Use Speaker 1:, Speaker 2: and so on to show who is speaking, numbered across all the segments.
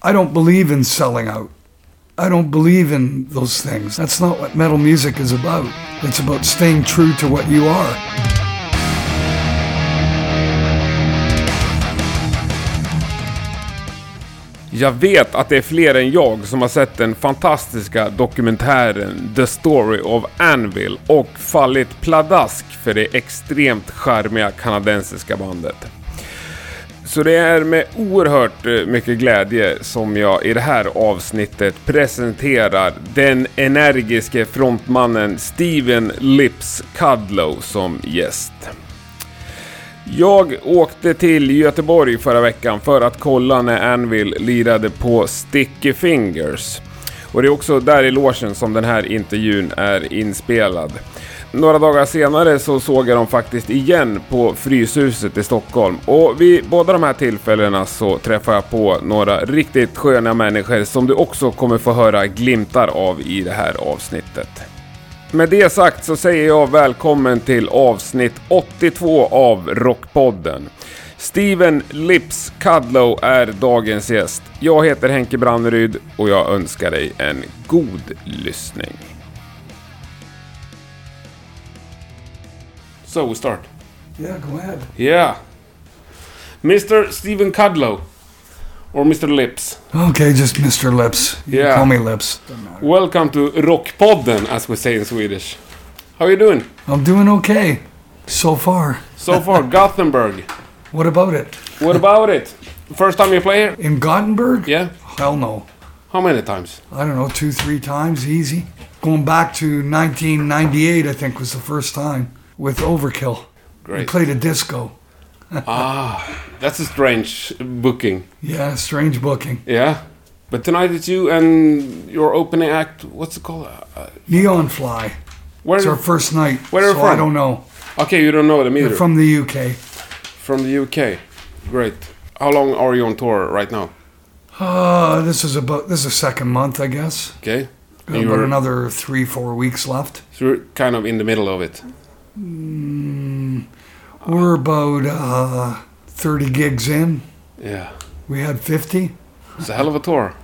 Speaker 1: I don't believe in selling out. I don't believe in those things. That's not what metal music is about. It's about staying true to what you are.
Speaker 2: Jag vet att det är fler än jag som har sett den fantastiska dokumentären The Story of Anvil och fallit pladask för det extremt charmiga kanadensiska bandet. Så det är med oerhört eh, mycket glädje som jag i det här avsnittet presenterar den energiske frontmannen Steven Lips Cudlow som gäst. Jag åkte till Göteborg förra veckan för att kolla när Anvil lirade på Sticky Fingers. Och det är också där i logen som den här intervjun är inspelad. Några dagar senare så såg jag dem faktiskt igen på Fryshuset i Stockholm och vid båda de här tillfällena så träffade jag på några riktigt sköna människor som du också kommer få höra glimtar av i det här avsnittet. Med det sagt så säger jag välkommen till avsnitt 82 av Rockpodden. Steven Lips Cudlow är dagens gäst. Jag heter Henke Branneryd och jag önskar dig en god lyssning. So we start.
Speaker 1: Yeah, go ahead.
Speaker 2: Yeah. Mr. Steven Cudlow. Or Mr. Lips.
Speaker 1: Okay, just Mr. Lips. You
Speaker 2: Yeah.
Speaker 1: Call me Lips.
Speaker 2: Welcome to Rockpodden as we say in Swedish. How are you doing?
Speaker 1: I'm doing okay so far.
Speaker 2: So far, Gothenburg.
Speaker 1: What about it?
Speaker 2: What about it? First time you play here?
Speaker 1: In Gothenburg?
Speaker 2: Yeah.
Speaker 1: Hell no.
Speaker 2: How many times?
Speaker 1: I don't know, two, three times, easy. Going back to 1998, I think was the first time with Overkill. We
Speaker 2: Great.
Speaker 1: played a disco.
Speaker 2: That's a strange booking.
Speaker 1: Yeah, strange booking.
Speaker 2: Yeah. But tonight it's you and your opening act. What's it called? Uh,
Speaker 1: Neon Fly.
Speaker 2: where?
Speaker 1: It's our first night.
Speaker 2: Where are you
Speaker 1: so I
Speaker 2: from?
Speaker 1: don't know.
Speaker 2: Okay, you don't know them either.
Speaker 1: From the UK.
Speaker 2: From the UK. Great. How long are you on tour right now?
Speaker 1: Uh, this is about this is the second month, I guess.
Speaker 2: Okay. And
Speaker 1: Got
Speaker 2: you
Speaker 1: Uh, about
Speaker 2: were-
Speaker 1: another three, four weeks left.
Speaker 2: so you're kind of in the middle of it.
Speaker 1: We're about uh, 30 gigs in.
Speaker 2: Yeah.
Speaker 1: We had 50.
Speaker 2: It's a hell of a tour.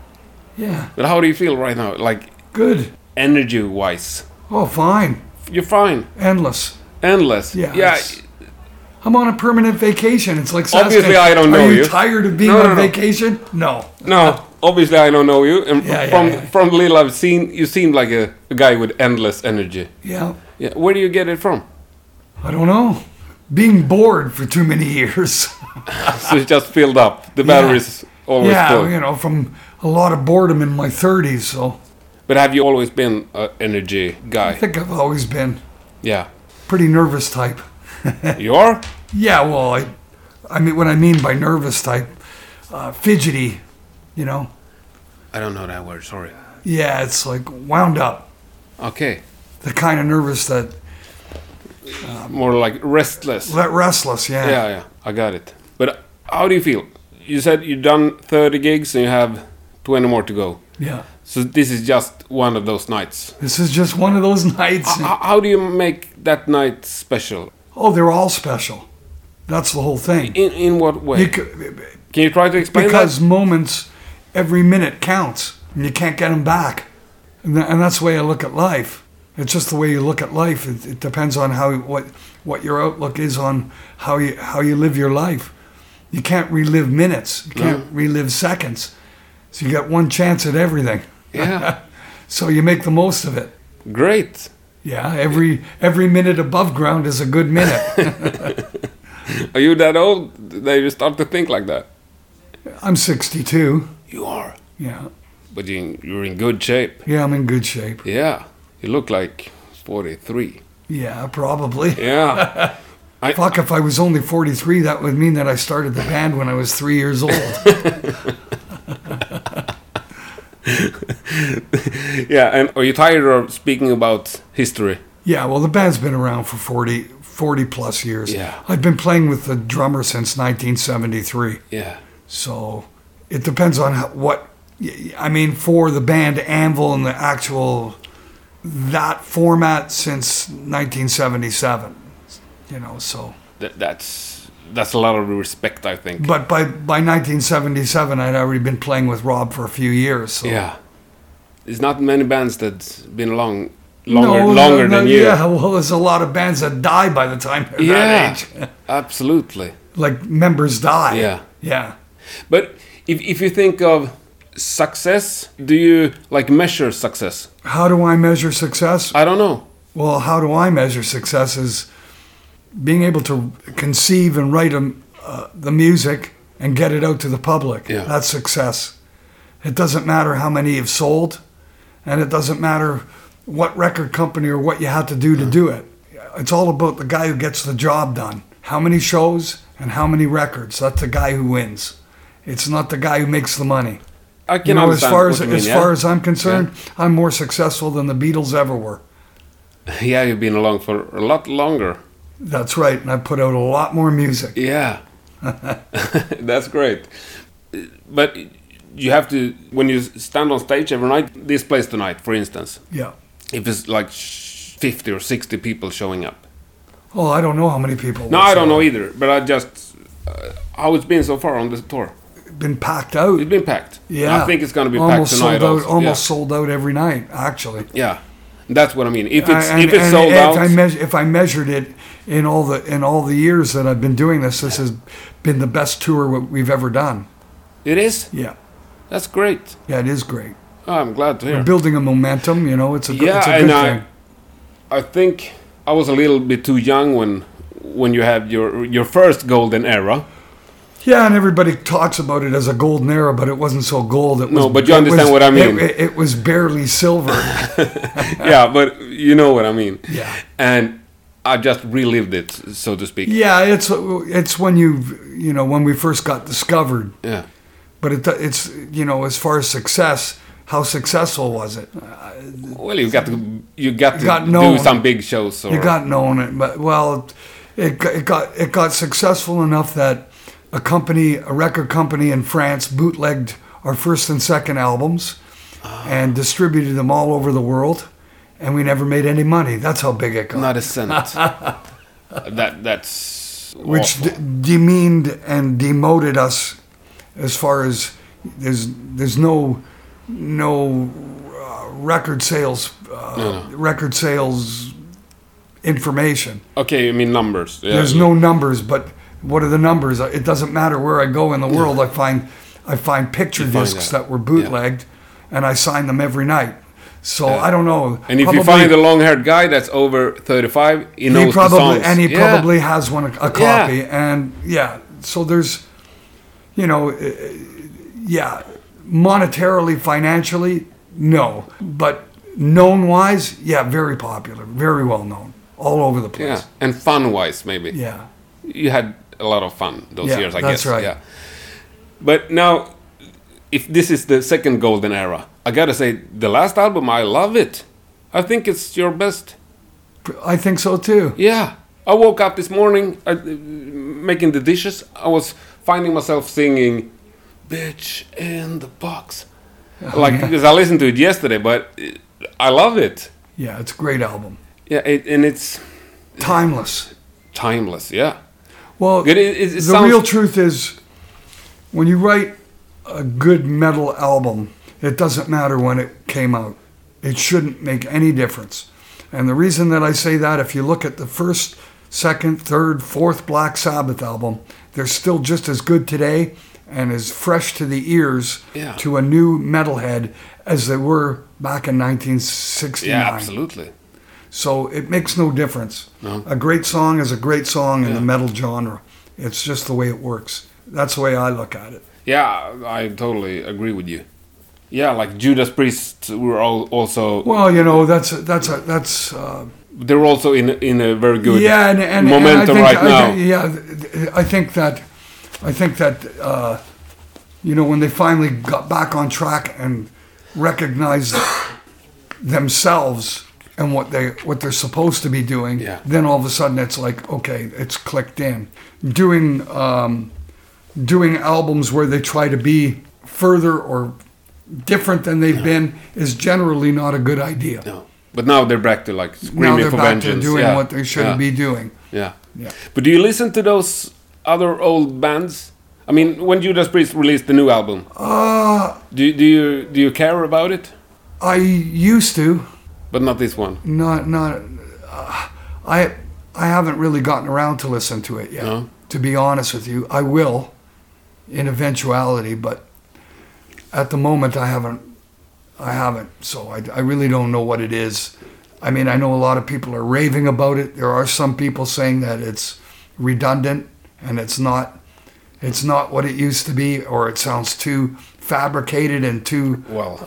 Speaker 1: Yeah,
Speaker 2: But how do you feel right now? Like
Speaker 1: good.
Speaker 2: energy wise?
Speaker 1: Oh, fine.
Speaker 2: You're fine.
Speaker 1: Endless.
Speaker 2: Endless.
Speaker 1: Yeah,
Speaker 2: Yeah.
Speaker 1: it's- I'm on a permanent vacation. It's like Saskia,
Speaker 2: Obviously, I don't know
Speaker 1: Are you,
Speaker 2: you."
Speaker 1: tired of being
Speaker 2: No, no,
Speaker 1: on
Speaker 2: no.
Speaker 1: vacation? No.
Speaker 2: No, obviously I don't know you, and
Speaker 1: Yeah, yeah,
Speaker 2: from
Speaker 1: yeah.
Speaker 2: from little I've seen, you seem like a, a guy with endless energy.
Speaker 1: Yeah,
Speaker 2: Yeah, where do you get it from?
Speaker 1: I don't know. Being bored for too many years.
Speaker 2: so it's just filled up. The batteries always
Speaker 1: yeah,
Speaker 2: full.
Speaker 1: you know, from a lot of boredom in my 30s. So
Speaker 2: But have you always been an energy
Speaker 1: I
Speaker 2: guy?
Speaker 1: think I've always been
Speaker 2: Yeah,
Speaker 1: pretty nervous type.
Speaker 2: you are.
Speaker 1: Yeah, well, I, I mean, what I mean by nervous type, uh, fidgety, you know.
Speaker 2: I don't know that word. Sorry.
Speaker 1: Yeah, it's like wound up.
Speaker 2: Okay,
Speaker 1: The kind of nervous that
Speaker 2: more like restless.
Speaker 1: that restless. Yeah.
Speaker 2: Yeah, yeah, I got it. But how do you feel? You said you've done 30 gigs and you have 20 more to go.
Speaker 1: Yeah.
Speaker 2: So this is just one of those nights.
Speaker 1: This is just one of those nights.
Speaker 2: How, how do you make that night special?
Speaker 1: oh, they're all special. That's the whole thing.
Speaker 2: In in what way?
Speaker 1: You c-
Speaker 2: Can you try to explain
Speaker 1: because
Speaker 2: that?
Speaker 1: moments, every minute counts, and you can't get them back. And, tha- and that's the way I look at life. It's just the way you look at life. It, it depends on how what what your outlook is on how you how you live your life. You can't relive minutes. You can't relive seconds. So you got one chance at everything.
Speaker 2: Yeah.
Speaker 1: So you make the most of it.
Speaker 2: Great.
Speaker 1: Yeah, every every minute above ground is a good minute.
Speaker 2: Are you that old that you start to think like that?
Speaker 1: I'm 62.
Speaker 2: You are.
Speaker 1: Yeah,
Speaker 2: But you, you're in good shape.
Speaker 1: yeah, I'm in good shape.
Speaker 2: Yeah. You look like 43.
Speaker 1: Yeah, probably.
Speaker 2: Yeah.
Speaker 1: Fuck, if I was only 43, that would mean that I started the band when I was three years old.
Speaker 2: yeah. And are you tired of speaking about history?
Speaker 1: yeah, well, the band's been around for 40, 40 plus years.
Speaker 2: Yeah.
Speaker 1: I've been playing with the drummer since 1973.
Speaker 2: Yeah.
Speaker 1: So it depends on how, what, I mean, for the band Anvil and the actual, that format since 1977. You know, so
Speaker 2: That, that's that's a lot of respect I think.
Speaker 1: But by, by 1977, I'd already been playing with Rob for a few years. So.
Speaker 2: Yeah. There's not many bands that's been along longer longer
Speaker 1: no,
Speaker 2: than you.
Speaker 1: Yeah, well, there's a lot of bands that die by the time they're
Speaker 2: Yeah,
Speaker 1: that age.
Speaker 2: absolutely.
Speaker 1: like members die.
Speaker 2: Yeah.
Speaker 1: Yeah.
Speaker 2: But if if you think of success, do you like measure success?
Speaker 1: How do I measure success?
Speaker 2: I don't know.
Speaker 1: Well, how do I measure success is being able to conceive and write um, uh, the music and get it out to the public.
Speaker 2: Yeah.
Speaker 1: That's success. It doesn't matter how many you've sold, and it doesn't matter what record company or what you had to do to do it. It's all about the guy who gets the job done. How many shows and how many records? That's the guy who wins. It's not the guy who makes the money.
Speaker 2: I can
Speaker 1: You know, as
Speaker 2: understand
Speaker 1: far
Speaker 2: what
Speaker 1: as
Speaker 2: you mean,
Speaker 1: as
Speaker 2: yeah?
Speaker 1: far as I'm concerned, I'm more successful than the Beatles ever were.
Speaker 2: yeah, you've been along for a lot longer.
Speaker 1: That's right, and I put out a lot more music.
Speaker 2: Yeah, that's great. But you have to when you stand on stage every night. This place tonight, for instance,
Speaker 1: Yeah.
Speaker 2: if it's like sh- fifty or sixty people showing up.
Speaker 1: Oh, I don't know how many people.
Speaker 2: No,
Speaker 1: were,
Speaker 2: I
Speaker 1: so
Speaker 2: don't know either. But I just uh, how it's been so far on this tour.
Speaker 1: Been packed out.
Speaker 2: It's been packed.
Speaker 1: Yeah.
Speaker 2: I think it's going to be
Speaker 1: almost
Speaker 2: packed tonight.
Speaker 1: Sold out,
Speaker 2: also.
Speaker 1: Almost
Speaker 2: Yeah.
Speaker 1: sold out every night, actually.
Speaker 2: Yeah, that's what I mean. If it's
Speaker 1: I-
Speaker 2: if it's
Speaker 1: and
Speaker 2: sold
Speaker 1: if
Speaker 2: out,
Speaker 1: I meas- if I measured it in all the in all the years that I've been doing this, this has been the best tour we- we've ever done.
Speaker 2: it is.
Speaker 1: Yeah,
Speaker 2: That's great.
Speaker 1: yeah, it is great.
Speaker 2: Oh, I'm glad to hear.
Speaker 1: We're building a momentum. You know, it's a, go-
Speaker 2: Yeah,
Speaker 1: it's a
Speaker 2: and
Speaker 1: good
Speaker 2: I-
Speaker 1: thing.
Speaker 2: I think I was a little bit too young when when you had your your first golden era.
Speaker 1: Yeah, and everybody talks about it as a golden era, but it wasn't so gold. It was,
Speaker 2: No, but you
Speaker 1: it
Speaker 2: understand
Speaker 1: was-
Speaker 2: what I mean.
Speaker 1: It, it- it was barely silver.
Speaker 2: yeah, but you know what I mean.
Speaker 1: Yeah.
Speaker 2: And I just relived it, so to speak.
Speaker 1: yeah, it's it's when you you know when we first got discovered.
Speaker 2: Yeah.
Speaker 1: But it, it's you know as far as success, how successful was it?
Speaker 2: Well, you got to you got to
Speaker 1: got
Speaker 2: do
Speaker 1: known.
Speaker 2: some big shows. Or,
Speaker 1: It got known, it, but well, it, got- it got it got successful enough that a company, a record company in France, bootlegged our first and second albums, and distributed them all over the world, and we never made any money. That's how big it got.
Speaker 2: not a cent. that that's
Speaker 1: which
Speaker 2: awful.
Speaker 1: d- demeaned and demoted us as far as there's there's no no uh, record sales uh, record sales information
Speaker 2: okay, I mean numbers. Yeah.
Speaker 1: there's no numbers but what are the numbers it doesn't matter where i go in the world i find i find picture
Speaker 2: You find
Speaker 1: discs
Speaker 2: that.
Speaker 1: that. were bootlegged and i sign them every night so i don't know
Speaker 2: And if you
Speaker 1: Probably-
Speaker 2: find a long-haired guy that's over 35, he knows
Speaker 1: he probably
Speaker 2: the songs.
Speaker 1: and he
Speaker 2: Yeah.
Speaker 1: probably has one a copy and yeah so there's you know eh, eh, yeah monetarily financially no but known wise yeah very popular very well known all over the
Speaker 2: yeah,
Speaker 1: place
Speaker 2: and fun-wise maybe.
Speaker 1: yeah
Speaker 2: you had a lot of fun those
Speaker 1: Yeah,
Speaker 2: years, I
Speaker 1: that's
Speaker 2: guess.
Speaker 1: right.
Speaker 2: Yeah. But now, if this is the second golden era, I gotta say the last album, I love it. I think it's your best.
Speaker 1: i think so too
Speaker 2: Yeah. I woke up this morning uh, making the dishes. I was finding myself singing "Bitch in the Box," like because I listened to it yesterday, but uh, I love it.
Speaker 1: yeah it's a great album
Speaker 2: Yeah, it, and it's
Speaker 1: timeless
Speaker 2: timeless. Yeah.
Speaker 1: Well,
Speaker 2: It- it- it
Speaker 1: the
Speaker 2: sounds-
Speaker 1: real truth is, when you write a good metal album, it doesn't matter when it came out. It shouldn't make any difference. And the reason that I say that, if you look at the first, second, third, fourth Black Sabbath album, they're still just as good today and as fresh to the ears
Speaker 2: Yeah.
Speaker 1: to a new metalhead as they were back in 1969.
Speaker 2: Yeah, absolutely.
Speaker 1: So it makes no difference.
Speaker 2: No.
Speaker 1: A great song is a great song in the metal genre. It's just the way it works. That's the way I look at it.
Speaker 2: Yeah, I totally agree with you. Yeah, like Judas Priest were all also
Speaker 1: Well, you know, that's a, that's a, that's uh,
Speaker 2: they're also in in a very good
Speaker 1: yeah, and, and and I
Speaker 2: momentum
Speaker 1: think,
Speaker 2: right
Speaker 1: I
Speaker 2: now.
Speaker 1: thi- yeah, th- I think that I think that uh, you know when they finally got back on track and recognized themselves and what they what they're supposed to be doing,
Speaker 2: Yeah.
Speaker 1: then all of a sudden it's like okay, it's clicked in. Doing um, doing albums where they try to be further or different than they've been is generally not a good idea.
Speaker 2: No. But now they're back to like
Speaker 1: Now
Speaker 2: screaming
Speaker 1: they're
Speaker 2: for
Speaker 1: back
Speaker 2: vengeance.
Speaker 1: to doing
Speaker 2: yeah.
Speaker 1: what they shouldn't be
Speaker 2: yeah.
Speaker 1: doing.
Speaker 2: Yeah.
Speaker 1: Yeah.
Speaker 2: But do you listen to those other old bands? I mean, when Judas Priest released the new album,
Speaker 1: Uh,
Speaker 2: do, do you do you care about it?
Speaker 1: I used to.
Speaker 2: But not this one.
Speaker 1: Not not. Uh, I I haven't really gotten around to listen to it yet.
Speaker 2: No.
Speaker 1: To be honest with you, I will, in eventuality. But at the moment, I haven't. I haven't. So I I really don't know what it is. I mean, I know a lot of people are raving about it. There are some people saying that it's redundant and it's not. It's not what it used to be, or it sounds too fabricated and too.
Speaker 2: Well,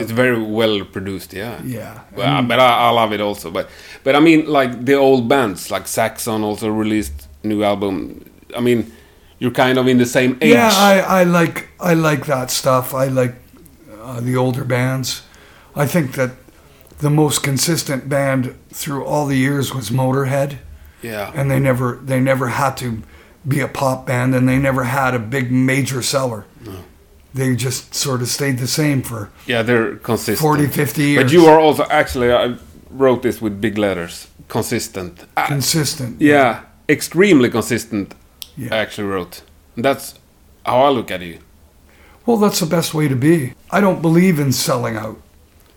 Speaker 2: it's very well produced, yeah.
Speaker 1: Uh, Yeah.
Speaker 2: Well, but I, I love it also. But but I mean, like the old bands, like Saxon also released new album. I mean, you're kind of in the same age.
Speaker 1: Yeah, I, I like I like that stuff. I like uh, the older bands. I think that the most consistent band through all the years was Motorhead,
Speaker 2: yeah.
Speaker 1: and they never they never had to be a pop band, and they never had a big major seller. They just sort of stayed the same for
Speaker 2: Yeah, they're consistent.
Speaker 1: 40, 50 years.
Speaker 2: But you are also actually I wrote this with big letters. Consistent. Ah,
Speaker 1: consistent.
Speaker 2: yeah, extremely consistent.
Speaker 1: Yeah.
Speaker 2: I actually wrote. And that's how I look at you.
Speaker 1: Well, that's the best way to be. I don't believe in selling out.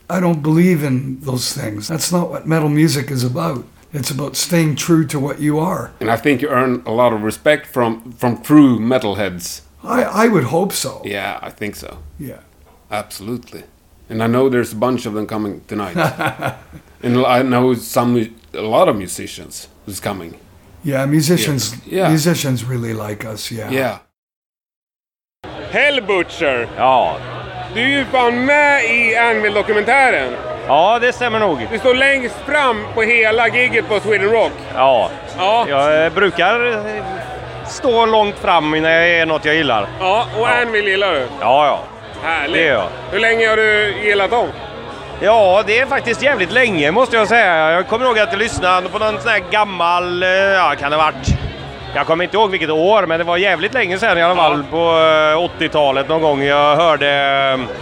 Speaker 1: I don't believe in those things. That's not what metal music is about. It's about staying true to what you are.
Speaker 2: And I think you earn a lot of respect from from true metalheads.
Speaker 1: I, I would hope so.
Speaker 2: Yeah, I think so.
Speaker 1: Yeah.
Speaker 2: Absolutely. And I know there's a bunch of them coming tonight. and I know some a lot of musicians who's coming.
Speaker 1: Yeah, musicians
Speaker 2: Yeah.
Speaker 1: musicians really like us, yeah.
Speaker 2: Yeah. Hell Butcher,
Speaker 3: Ja.
Speaker 2: du är ju fan med i Anvil-dokumentären.
Speaker 3: ja, det stämmer nog.
Speaker 2: Du står längst fram på hela giget på Sweden Rock.
Speaker 3: Ja.
Speaker 2: Ja.
Speaker 3: Jag eh, brukar eh, stå långt fram när jag är något jag gillar.
Speaker 2: Ja, och Anvil gillar du.
Speaker 3: Ja, ja.
Speaker 2: Härligt.
Speaker 3: Det gör jag.
Speaker 2: Hur länge har du gillat dem?
Speaker 3: Ja, det är faktiskt jävligt länge måste jag säga. Jag kommer ihåg att jag lyssnade på någon sån här gammal, eh, ja kan det ha varit... Jag kommer inte ihåg vilket år, men det var jävligt länge sedan i alla fall. På eh, 80-talet någon gång. Jag hörde eh,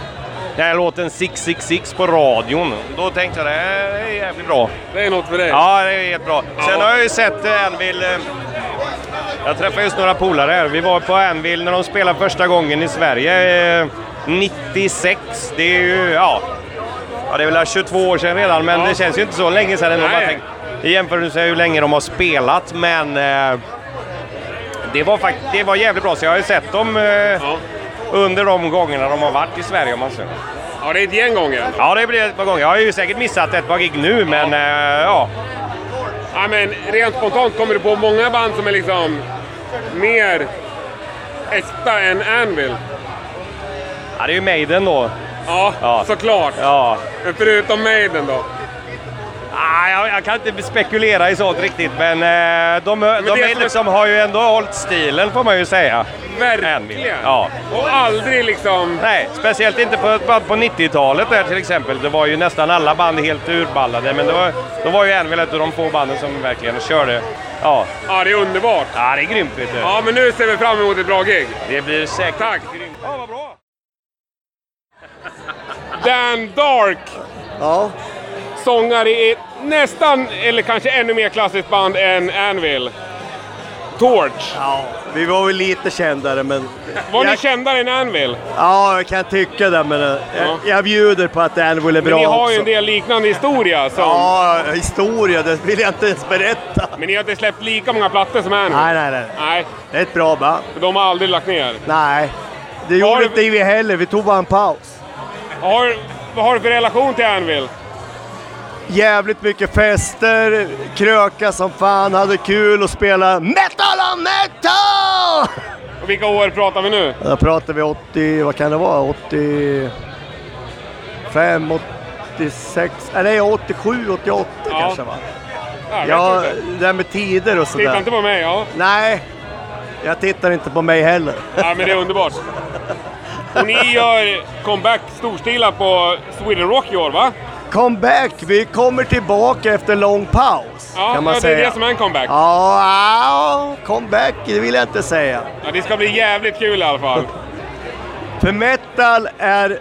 Speaker 3: den här låten 666 på radion. Då tänkte jag det här är jävligt bra.
Speaker 2: Det är något för dig.
Speaker 3: Ja, det är helt bra. Sen
Speaker 2: Ja.
Speaker 3: har jag ju sett eh, Anvil... eh, Jag träffade just några polare här. Vi var på Anvil när de spelade första gången i Sverige eh, 96. Det är ju... Ja, ja det är väl 22 år sedan redan, men
Speaker 2: Ja.
Speaker 3: det känns ju inte så länge sedan ändå.
Speaker 2: Nej.
Speaker 3: Man tänker, I jämförelse med hur länge de har spelat, men... eh, Det var, fakt- det var jävligt bra, så jag har ju sett dem eh,
Speaker 2: Ja.
Speaker 3: under de gångerna de har varit i Sverige om man säger.
Speaker 2: ja, det är ett gäng gånger.
Speaker 3: Ja, det blir ett par gånger. Jag har ju säkert missat ett par gig nu, men eh, ja.
Speaker 2: Ja, men rent spontant kommer du på många band som är liksom mer äkta än Anvil.
Speaker 3: ja, det är ju Maiden då.
Speaker 2: Ja,
Speaker 3: Ja.
Speaker 2: såklart.
Speaker 3: Ja.
Speaker 2: Men Förutom Maiden då.
Speaker 3: Ah, jag, jag kan inte spekulera i sånt riktigt, men eh, de, de
Speaker 2: det
Speaker 3: är
Speaker 2: som är-
Speaker 3: liksom, har ju ändå hållit stilen får man ju säga.
Speaker 2: Verkligen.
Speaker 3: Ja.
Speaker 2: Och aldrig liksom...
Speaker 3: Nej, speciellt inte på, på, på 90-talet där till exempel. Det var ju nästan alla band helt urballade, men det var, då var ju Anvil ett av de få banden som verkligen körde. Ja,
Speaker 2: Ja, det är underbart.
Speaker 3: ah, det är grymt vet du.
Speaker 2: Ja, men nu ser vi fram emot ett bra gig.
Speaker 3: Det blir säkert...
Speaker 2: Tack.
Speaker 3: grymt. Ja, vad bra!
Speaker 2: Dan Dark,
Speaker 4: Ja,
Speaker 2: sångare i nästan, eller kanske ännu mer klassiskt band än Anvil. Torch.
Speaker 4: ja, vi var väl lite kändare men...
Speaker 2: Var ni
Speaker 4: jag,
Speaker 2: kändare än Anvil?
Speaker 4: Ja, jag kan tycka det men eh,
Speaker 2: Ja.
Speaker 4: jag, jag bjuder på att Anvil är bra
Speaker 2: Men ni har ju en
Speaker 4: också.
Speaker 2: del liknande historia. Som,
Speaker 4: Ja, historia, det vill jag inte ens berätta.
Speaker 2: Men ni har inte släppt lika många plattor som Anvil?
Speaker 4: Nej, nej, nej.
Speaker 2: Nej,
Speaker 4: Det är ett bra band.
Speaker 2: för de har aldrig lagt ner.
Speaker 4: Nej, det
Speaker 2: Har
Speaker 4: gjorde
Speaker 2: du-
Speaker 4: inte vi heller. Vi tog bara en paus.
Speaker 2: Har, vad har du för relation till Anvil?
Speaker 4: Jävligt mycket fester, kröka som fan, hade kul och spela metal on metal!
Speaker 2: Och vilka år pratar vi nu?
Speaker 4: Då pratar vi 80, vad kan det vara, 85, 86, äh, nej 87, 88
Speaker 2: Ja.
Speaker 4: kanske va?
Speaker 2: Jag
Speaker 4: Ja,
Speaker 2: vet inte.
Speaker 4: det där med tider och
Speaker 2: Titta
Speaker 4: sådär.
Speaker 2: inte på mig. Ja.
Speaker 4: Nej, jag tittar inte på mig heller.
Speaker 2: ja, men det är underbart. Och ni gör comeback storstilat på Sweden Rock i år, va?
Speaker 4: Comeback, vi kommer tillbaka efter lång paus.
Speaker 2: Ja,
Speaker 4: kan man
Speaker 2: ja
Speaker 4: säga.
Speaker 2: det är det som är en comeback. Ja.
Speaker 4: Ja, ja, comeback, det vill jag inte säga.
Speaker 2: det ska bli jävligt kul i alla fall.
Speaker 4: För metal är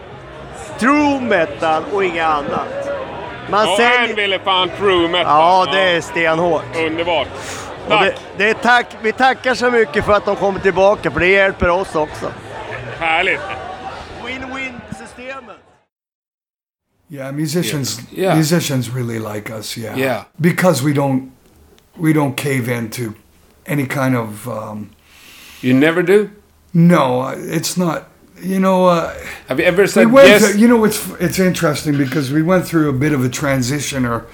Speaker 4: true metal och inget annat. Man
Speaker 2: Och
Speaker 4: säljer...
Speaker 2: Anvil är fan true metal.
Speaker 4: Ja, det är stenhårt.
Speaker 2: Underbart.
Speaker 4: Och
Speaker 2: Tack.
Speaker 4: det, det är tack. Vi tackar så mycket för att de kommer tillbaka, för det hjälper oss också.
Speaker 2: Härligt!
Speaker 4: Win-win-systemet.
Speaker 1: Yeah, musicians.
Speaker 2: Yeah.
Speaker 1: Musicians really like us. Yeah.
Speaker 2: Yeah.
Speaker 1: Because we don't, we don't cave into any kind of. Um,
Speaker 2: You never do?
Speaker 1: no, it's not. You know, uh,
Speaker 2: Have you ever
Speaker 1: we
Speaker 2: said
Speaker 1: went.
Speaker 2: yes?
Speaker 1: through- you know, it's it's interesting because we went through a bit of a transition or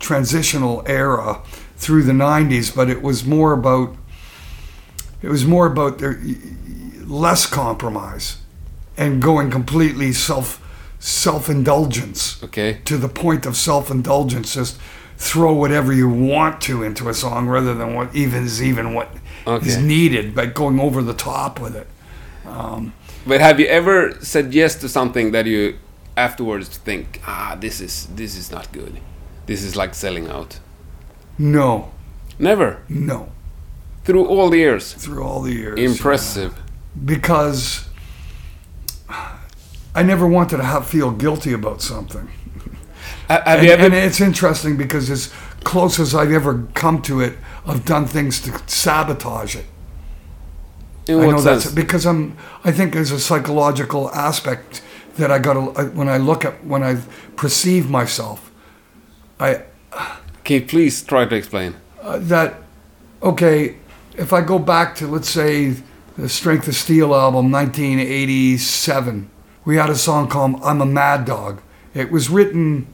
Speaker 1: transitional era through the '90s, but it was more about. It was more about there, less compromise, and going completely self self indulgence
Speaker 2: Okej.
Speaker 1: to the point of self-indulgence just throw whatever you want to into a song rather than what even is even what is
Speaker 2: Okay.
Speaker 1: needed but going over the top with it
Speaker 2: But have you ever said yes to something that you afterwards think, ah, this is this is not good. This is like selling out.
Speaker 1: no
Speaker 2: Never.
Speaker 1: no
Speaker 2: Through all the years.
Speaker 1: through all the years
Speaker 2: Impressive.
Speaker 1: because i never wanted to have, feel guilty about something
Speaker 2: Ha- Have
Speaker 1: and,
Speaker 2: you ever?
Speaker 1: and it's interesting because as close as i've ever come to it i've done things to sabotage it
Speaker 2: in
Speaker 1: I
Speaker 2: what
Speaker 1: know
Speaker 2: sense?
Speaker 1: that's because I'm. I think there's a psychological aspect that I got to when I look at when I perceive myself. I
Speaker 2: Can you please try to explain?
Speaker 1: uh, that okay. If I go back to let's say the Strength of Steel album 1987, we had a song called "I'm a Mad Dog." It was written.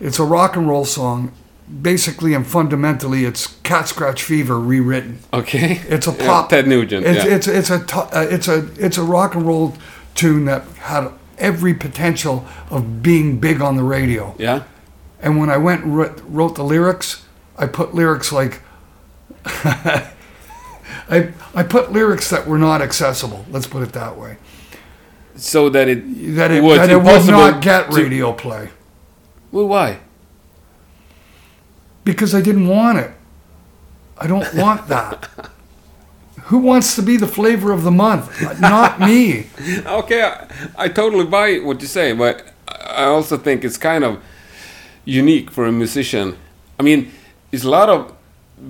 Speaker 1: It's a rock and roll song. Basically and fundamentally, it's Cat Scratch Fever rewritten.
Speaker 2: Okay.
Speaker 1: It's a
Speaker 2: Yeah,
Speaker 1: pop.
Speaker 2: Ted Nugent.
Speaker 1: It's
Speaker 2: yeah.
Speaker 1: it's, it's a to- uh, it's a it's a rock and roll tune that had every potential of being big on the radio.
Speaker 2: yeah.
Speaker 1: And when I went and wrote, wrote the lyrics, I put lyrics like. I, I put lyrics that were not accessible. Let's put it that way.
Speaker 2: So that it
Speaker 1: That it,
Speaker 2: was
Speaker 1: that it would
Speaker 2: impossible
Speaker 1: not get
Speaker 2: to-
Speaker 1: radio play
Speaker 2: Well, why?
Speaker 1: because I didn't want it. I don't want that. Who wants to be the flavor of the month? Not me.
Speaker 2: Okay, I, I totally buy what you say, but I I also think it's kind of unique for a musician. I mean, it's a lot of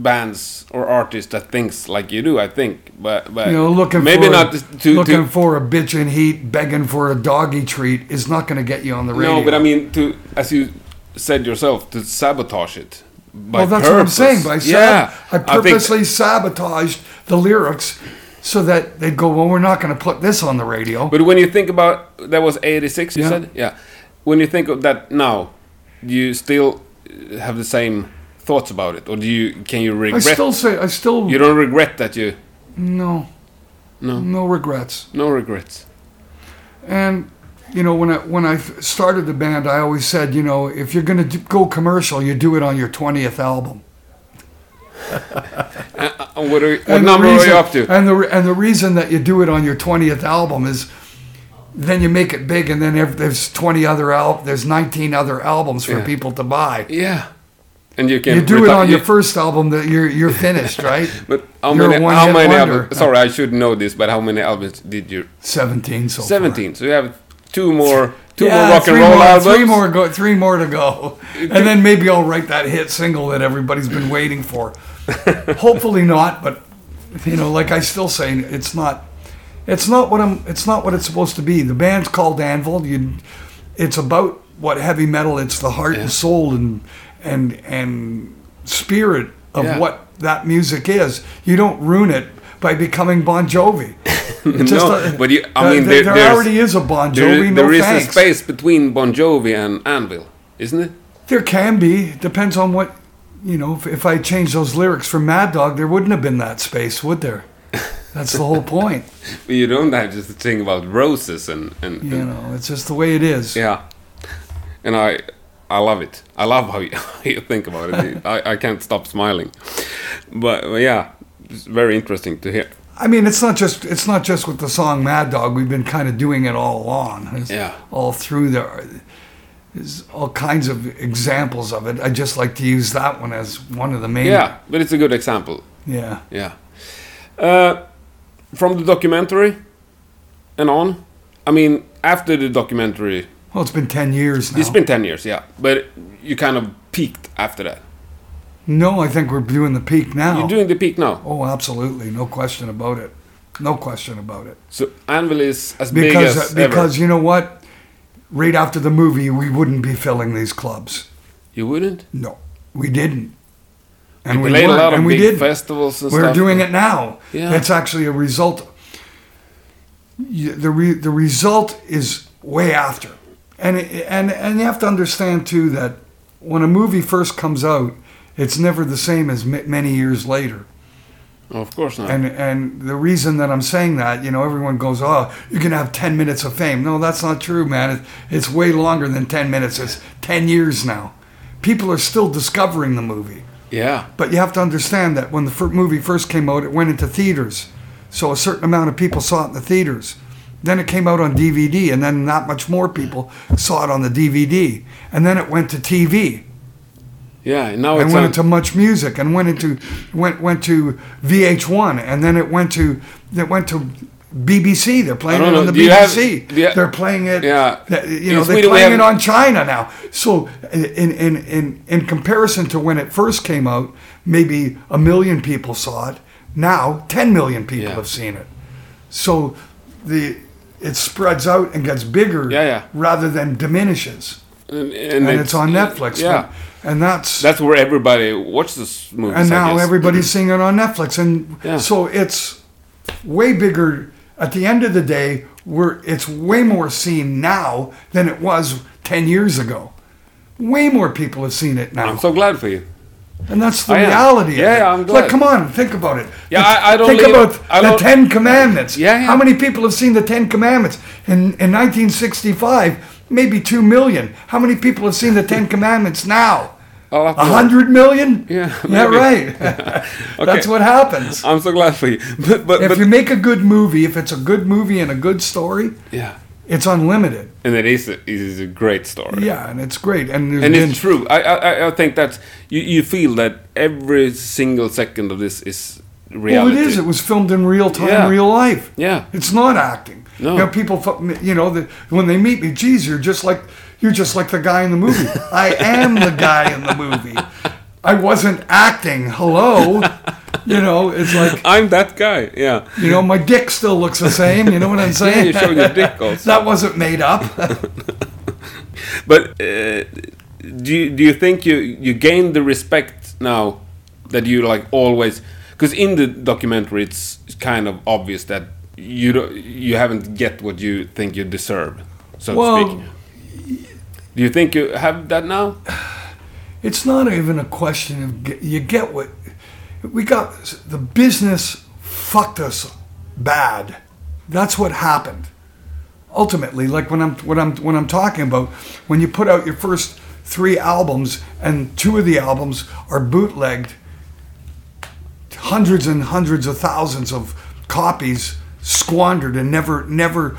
Speaker 2: bands or artists that thinks like you do. I think, but but
Speaker 1: you know, looking
Speaker 2: maybe
Speaker 1: for
Speaker 2: not to
Speaker 1: looking
Speaker 2: to,
Speaker 1: for a bitch in heat, begging for a doggy treat is not going to get you on the radio.
Speaker 2: no, but I mean to as you said yourself to sabotage it. By
Speaker 1: well, that's what I'm
Speaker 2: purpose.
Speaker 1: saying. By sab-
Speaker 2: yeah,
Speaker 1: I
Speaker 2: think-
Speaker 1: purposely sabotaged the lyrics so that they'd go, well, we're not going to put this on the radio.
Speaker 2: But when you think about that was '86, you
Speaker 1: Yeah.
Speaker 2: said, yeah. When you think of that now, do you still uh, have the same thoughts about it, or do you can you
Speaker 1: I
Speaker 2: regret?
Speaker 1: still say, I still
Speaker 2: you don't regret that you
Speaker 1: no,
Speaker 2: No.
Speaker 1: no regrets.
Speaker 2: no regrets.
Speaker 1: And you know, when I when I started the band, I always said, you know, if you're going to go commercial, you do it on your 20th album.
Speaker 2: And Uh, what are, what
Speaker 1: And the
Speaker 2: number
Speaker 1: reason-
Speaker 2: are you up to?
Speaker 1: And the re- and the reason that you do it on your twentieth album is then you make it big, and then ev- there's twenty other al- there's nineteen other albums for
Speaker 2: Yeah.
Speaker 1: people to buy.
Speaker 2: yeah, and you can
Speaker 1: You do it
Speaker 2: reti-
Speaker 1: on your
Speaker 2: you-
Speaker 1: first album that you're you're finished, right?
Speaker 2: But how
Speaker 1: you're a
Speaker 2: many? How
Speaker 1: one-hit
Speaker 2: many
Speaker 1: wonder.
Speaker 2: albums? Sorry, I should know this, but how many albums did you?
Speaker 1: Seventeen so far.
Speaker 2: Seventeen. So you have two more, two
Speaker 1: Yeah,
Speaker 2: more rock and
Speaker 1: three
Speaker 2: roll
Speaker 1: more,
Speaker 2: albums.
Speaker 1: Three more go, three more to go, and then maybe I'll write that hit single that everybody's been waiting for. Hopefully not, but you know, like I still say, it's not, it's not what I'm, it's not what it's supposed to be. The band's called Anvil. You, it's about what heavy metal. It's the heart and soul and and and spirit of
Speaker 2: Yeah.
Speaker 1: what that music is. You don't ruin it by becoming Bon Jovi. It's
Speaker 2: No, but you- I mean,
Speaker 1: there,
Speaker 2: there- there's-
Speaker 1: already is a Bon Jovi.
Speaker 2: There is-
Speaker 1: no
Speaker 2: there is
Speaker 1: thanks.
Speaker 2: a space between Bon Jovi and Anvil, isn't it?
Speaker 1: There can be. Depends on what, you know, if, if I changed those lyrics for Mad Dog, there wouldn't have been that space, would there? That's the whole point.
Speaker 2: But you don't have just to think about roses and and,
Speaker 1: You
Speaker 2: and-
Speaker 1: know, it's just the way it is.
Speaker 2: yeah. And I I love it. I love how you, how you think about it. I, I can't stop smiling. But, but yeah, it's very interesting to hear.
Speaker 1: I mean, it's not just it's not just with the song Mad Dog. We've been kind of doing it all along. It's
Speaker 2: Yeah.
Speaker 1: All through there. There's all kinds of examples of it. I just like to use that one as one of the main.
Speaker 2: Yeah, but it's a good example.
Speaker 1: Yeah.
Speaker 2: Yeah. Uh, from the documentary and on. I mean, after the documentary,
Speaker 1: Well, it's been ten years now.
Speaker 2: it's been 10 years, yeah. But you kind of peaked after that.
Speaker 1: No, I think we're doing the peak now.
Speaker 2: You're doing the peak now.
Speaker 1: oh, absolutely, no question about it. No question about it.
Speaker 2: So Anvil is as big
Speaker 1: Because
Speaker 2: as
Speaker 1: because
Speaker 2: ever.
Speaker 1: you know what? Right after the movie, we wouldn't be filling these clubs.
Speaker 2: You wouldn't?
Speaker 1: No, we didn't. And
Speaker 2: We played a
Speaker 1: weren't,
Speaker 2: lot of
Speaker 1: and we
Speaker 2: big
Speaker 1: didn't.
Speaker 2: festivals and
Speaker 1: We're
Speaker 2: stuff.
Speaker 1: doing it now.
Speaker 2: Yeah.
Speaker 1: It's actually a result. You- The re, the result is way after, and it, and and you have to understand too that when a movie first comes out, it's never the same as ma- many years later.
Speaker 2: Of course not.
Speaker 1: And and the reason that I'm saying that, you know, everyone goes, oh, you can have 10 minutes of fame. No, that's not true, man. It, it's way longer than 10 minutes. It's 10 years now. People are still discovering the movie.
Speaker 2: yeah.
Speaker 1: But you have to understand that when the fir- movie first came out, it went into theaters. So a certain amount of people saw it in the theaters. Then it came out on DVD, and then not much more people saw it on the DVD. And then it went to TV,
Speaker 2: Yeah. Now
Speaker 1: and
Speaker 2: Oh, it's
Speaker 1: went
Speaker 2: on,
Speaker 1: into much music, and went into went went to VH1, and then it went to it went to BBC. They're playing
Speaker 2: I
Speaker 1: it
Speaker 2: don't
Speaker 1: on
Speaker 2: know.
Speaker 1: the
Speaker 2: Do you have-
Speaker 1: BBC.
Speaker 2: do you-
Speaker 1: They're playing it.
Speaker 2: Yeah.
Speaker 1: th- you
Speaker 2: In
Speaker 1: know, they're
Speaker 2: Sweden we
Speaker 1: playing it
Speaker 2: have-
Speaker 1: on China now. So in in in in comparison to when it first came out, maybe a million people saw it. Now, ten million people
Speaker 2: Yeah.
Speaker 1: have seen it. So the it spreads out and gets bigger
Speaker 2: Yeah, yeah.
Speaker 1: rather than diminishes.
Speaker 2: and,
Speaker 1: And, it's, on Netflix.
Speaker 2: Yeah.
Speaker 1: And that's
Speaker 2: That's where everybody watches movies.
Speaker 1: and
Speaker 2: I
Speaker 1: now
Speaker 2: guess.
Speaker 1: everybody's seeing it on Netflix, and
Speaker 2: Yeah.
Speaker 1: so it's way bigger. At the end of the day, we're it's way more seen now than it was ten years ago. Way more people have seen it now,
Speaker 2: I'm so glad for you.
Speaker 1: and that's the
Speaker 2: I am.
Speaker 1: reality. Of
Speaker 2: Yeah,
Speaker 1: it.
Speaker 2: yeah, I'm glad.
Speaker 1: Like, come on, think about it.
Speaker 2: Yeah,
Speaker 1: Let's
Speaker 2: I- I don't
Speaker 1: think
Speaker 2: leave-
Speaker 1: about
Speaker 2: I
Speaker 1: the
Speaker 2: don't-
Speaker 1: Ten Commandments.
Speaker 2: Yeah, yeah.
Speaker 1: how many people have seen the Ten Commandments in in 1965? Maybe two million. How many people have seen the Ten Commandments now?
Speaker 2: I'll have
Speaker 1: A
Speaker 2: to-
Speaker 1: hundred million?
Speaker 2: Oh, Yeah,
Speaker 1: yeah,
Speaker 2: maybe.
Speaker 1: right. That's what happens.
Speaker 2: I'm so glad for you. But but,
Speaker 1: If
Speaker 2: but
Speaker 1: you make a good movie, if it's a good movie and a good story,
Speaker 2: yeah.
Speaker 1: it's unlimited.
Speaker 2: And it is a, it is a great story.
Speaker 1: Yeah, and it's great. And, there's
Speaker 2: And
Speaker 1: been,
Speaker 2: it's true. I, I I- I think that you, you feel that every single second of this is
Speaker 1: Well,
Speaker 2: reality.
Speaker 1: Oh, it is. It was filmed in real time,
Speaker 2: Yeah.
Speaker 1: real life.
Speaker 2: Yeah.
Speaker 1: It's not acting.
Speaker 2: No.
Speaker 1: You know, people, fu- you know, the, when they meet me, geez, you're just like you're just like the guy in the movie. I am the guy in the movie. I wasn't acting. Hello. You know, it's like
Speaker 2: I'm that guy. Yeah.
Speaker 1: you know, my dick still looks the same. You know what I'm
Speaker 2: Yeah,
Speaker 1: saying?
Speaker 2: you show your dick also.
Speaker 1: that wasn't made up.
Speaker 2: But uh, do you, do you think you you gain the respect now that you like always? Because in the documentary, it's kind of obvious that you do, you haven't get what you think you deserve, so
Speaker 1: Well-
Speaker 2: to speak. Do you think you have that now?
Speaker 1: it's not even a question of get, you get what we got the business fucked us bad that's what happened ultimately like when i'm when i'm when i'm talking about when you put out your first three albums and two of the albums are bootlegged hundreds and hundreds of thousands of copies squandered and never never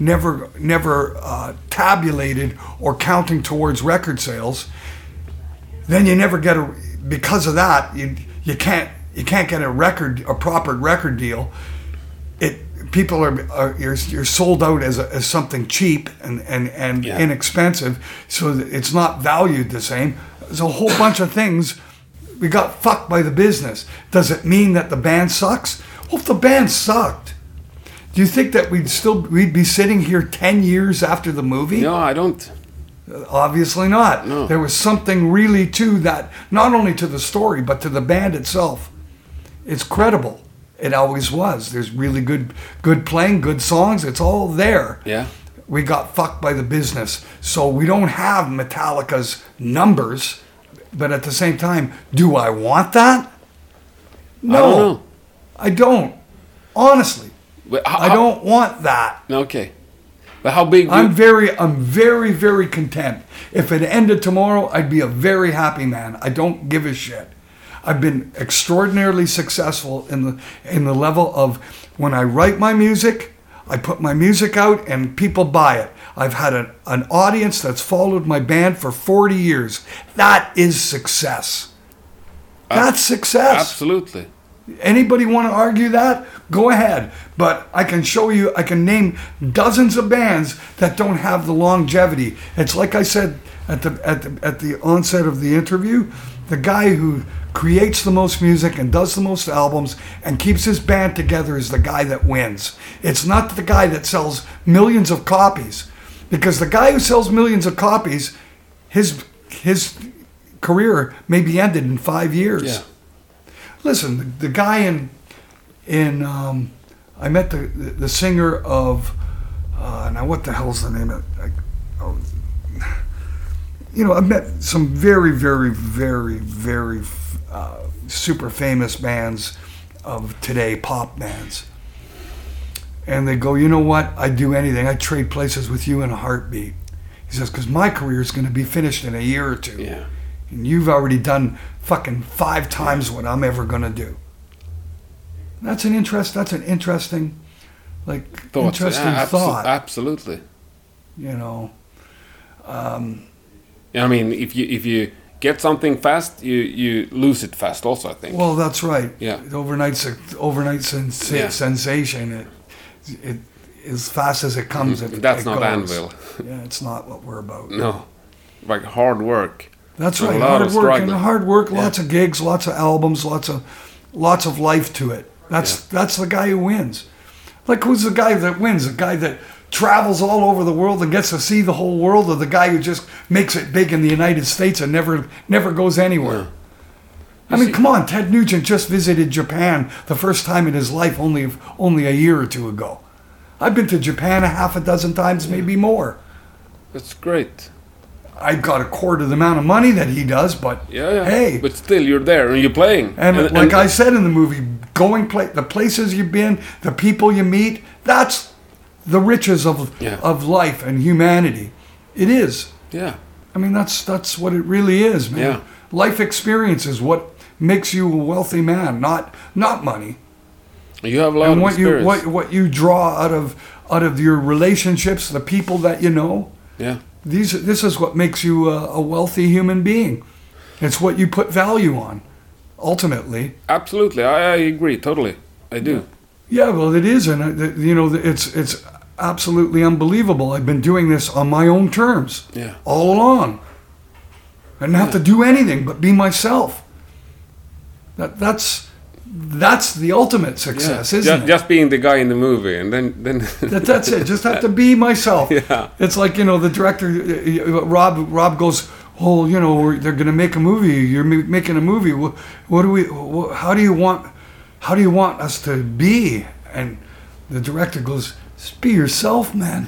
Speaker 1: never never uh, tabulated or counting towards record sales then you never get a because of that you you can't you can't get a record a proper record deal it people are, are you're, you're sold out as, a, as something cheap and and and
Speaker 2: Yeah.
Speaker 1: inexpensive so that it's not valued the same there's a whole bunch of things we got fucked by the business does it mean that the band sucks well if the band sucked do you think that we'd still we'd be sitting here 10 years after the movie
Speaker 2: No, I don't.
Speaker 1: Obviously not.
Speaker 2: No.
Speaker 1: There was something really to that, not only to the story, but to the band itself. It's credible. It always was. There's really good, good playing, good songs. It's all there.
Speaker 2: Yeah.
Speaker 1: We got fucked by the business, so we don't have Metallica's numbers. But at the same time, do I want that? No,
Speaker 2: I don't know.
Speaker 1: I don't. Honestly,
Speaker 2: But how-
Speaker 1: I don't want that.
Speaker 2: Okay. But how big?
Speaker 1: I'm
Speaker 2: you-
Speaker 1: very, I'm very, very content. If it ended tomorrow, I'd be a very happy man. I don't give a shit. I've been extraordinarily successful in the in the level of when I write my music, I put my music out and people buy it. I've had an, an audience that's followed my band for 40 years. That is success. That's success.
Speaker 2: absolutely.
Speaker 1: Anybody want to argue that? Go ahead. But I can show you, I can name dozens of bands that don't have the longevity. It's like I said at the, at the, at the onset of the interview the guy who creates the most music and does the most albums and keeps his band together is the guy that wins. It's not the guy that sells millions of copies. Because the guy who sells millions of copies, his, his career may be ended in five years
Speaker 2: Yeah.
Speaker 1: listen, the, the guy in in um, I met the the singer of uh, now what the hell's the name of I, oh, you know I've met some very very very very uh, super famous bands of today pop bands and they go you know what I'd do anything I'd trade places with you in a heartbeat he says because my career is going to be finished in a year or two
Speaker 2: Yeah.
Speaker 1: and you've already done fucking five times what I'm ever gonna do. That's an interest. That's an interesting, like
Speaker 2: Thoughts.
Speaker 1: interesting
Speaker 2: Yeah, abso-
Speaker 1: thought.
Speaker 2: Absolutely.
Speaker 1: you know,
Speaker 2: I mean, if you if you get something fast, you you lose it fast. Also, I think.
Speaker 1: well, that's right.
Speaker 2: Yeah.
Speaker 1: Overnight, se- overnight sens-
Speaker 2: Yeah.
Speaker 1: sensation. It, it as fast as it comes. It,
Speaker 2: Mm, That's
Speaker 1: it
Speaker 2: not
Speaker 1: goes.
Speaker 2: Anvil.
Speaker 1: Yeah, it's not what we're about.
Speaker 2: No, like hard work.
Speaker 1: That's
Speaker 2: A
Speaker 1: right.
Speaker 2: lot
Speaker 1: Hard
Speaker 2: of
Speaker 1: work and
Speaker 2: struggling.
Speaker 1: hard work. Lots of gigs, lots of albums, lots of lots of life to it. That's that's the guy who wins. Like who's the guy that wins? The guy that travels all over the world and gets to see the whole world, or the guy who just makes it big in the United States and never never goes anywhere. I mean, come on. Ted Nugent just visited Japan the first time in his life, only only a year or two ago. I've been to Japan a half a dozen times, maybe more.
Speaker 2: That's great.
Speaker 1: I've got a quarter the amount of money that he does, but
Speaker 2: Yeah, yeah.
Speaker 1: hey,
Speaker 2: But still, you're there and you're playing.
Speaker 1: and,
Speaker 2: and
Speaker 1: like
Speaker 2: and-
Speaker 1: I said in the movie, going pla the places you've been, the people you meet, that's the riches of
Speaker 2: Yeah.
Speaker 1: of life and humanity. It is.
Speaker 2: Yeah.
Speaker 1: I mean, that's that's what it really is, man.
Speaker 2: Yeah.
Speaker 1: Life experience is what makes you a wealthy man, not not money.
Speaker 2: You have a lot
Speaker 1: and
Speaker 2: of
Speaker 1: what
Speaker 2: experience.
Speaker 1: you what what you draw out of out of your relationships, the people that you know.
Speaker 2: yeah.
Speaker 1: These this is what makes you a, a wealthy human being. It's what you put value on, ultimately.
Speaker 2: Absolutely. I, I agree totally. I do.
Speaker 1: Yeah, well, it is, and uh, you know, it's it's absolutely unbelievable. I've been doing this on my own terms
Speaker 2: Yeah.
Speaker 1: all along. I didn't have to do anything but be myself. That that's that's the ultimate success, isn't
Speaker 2: just,
Speaker 1: it?
Speaker 2: just being the guy in the movie, and then then.
Speaker 1: That, that's it. Just have to be myself.
Speaker 2: Yeah.
Speaker 1: It's like you know the director uh, uh, Rob Rob goes, oh you know we're, they're gonna make a movie. You're ma- making a movie. What, what do we? wha how do you want? How do you want us to be? And the director goes, just be yourself, man.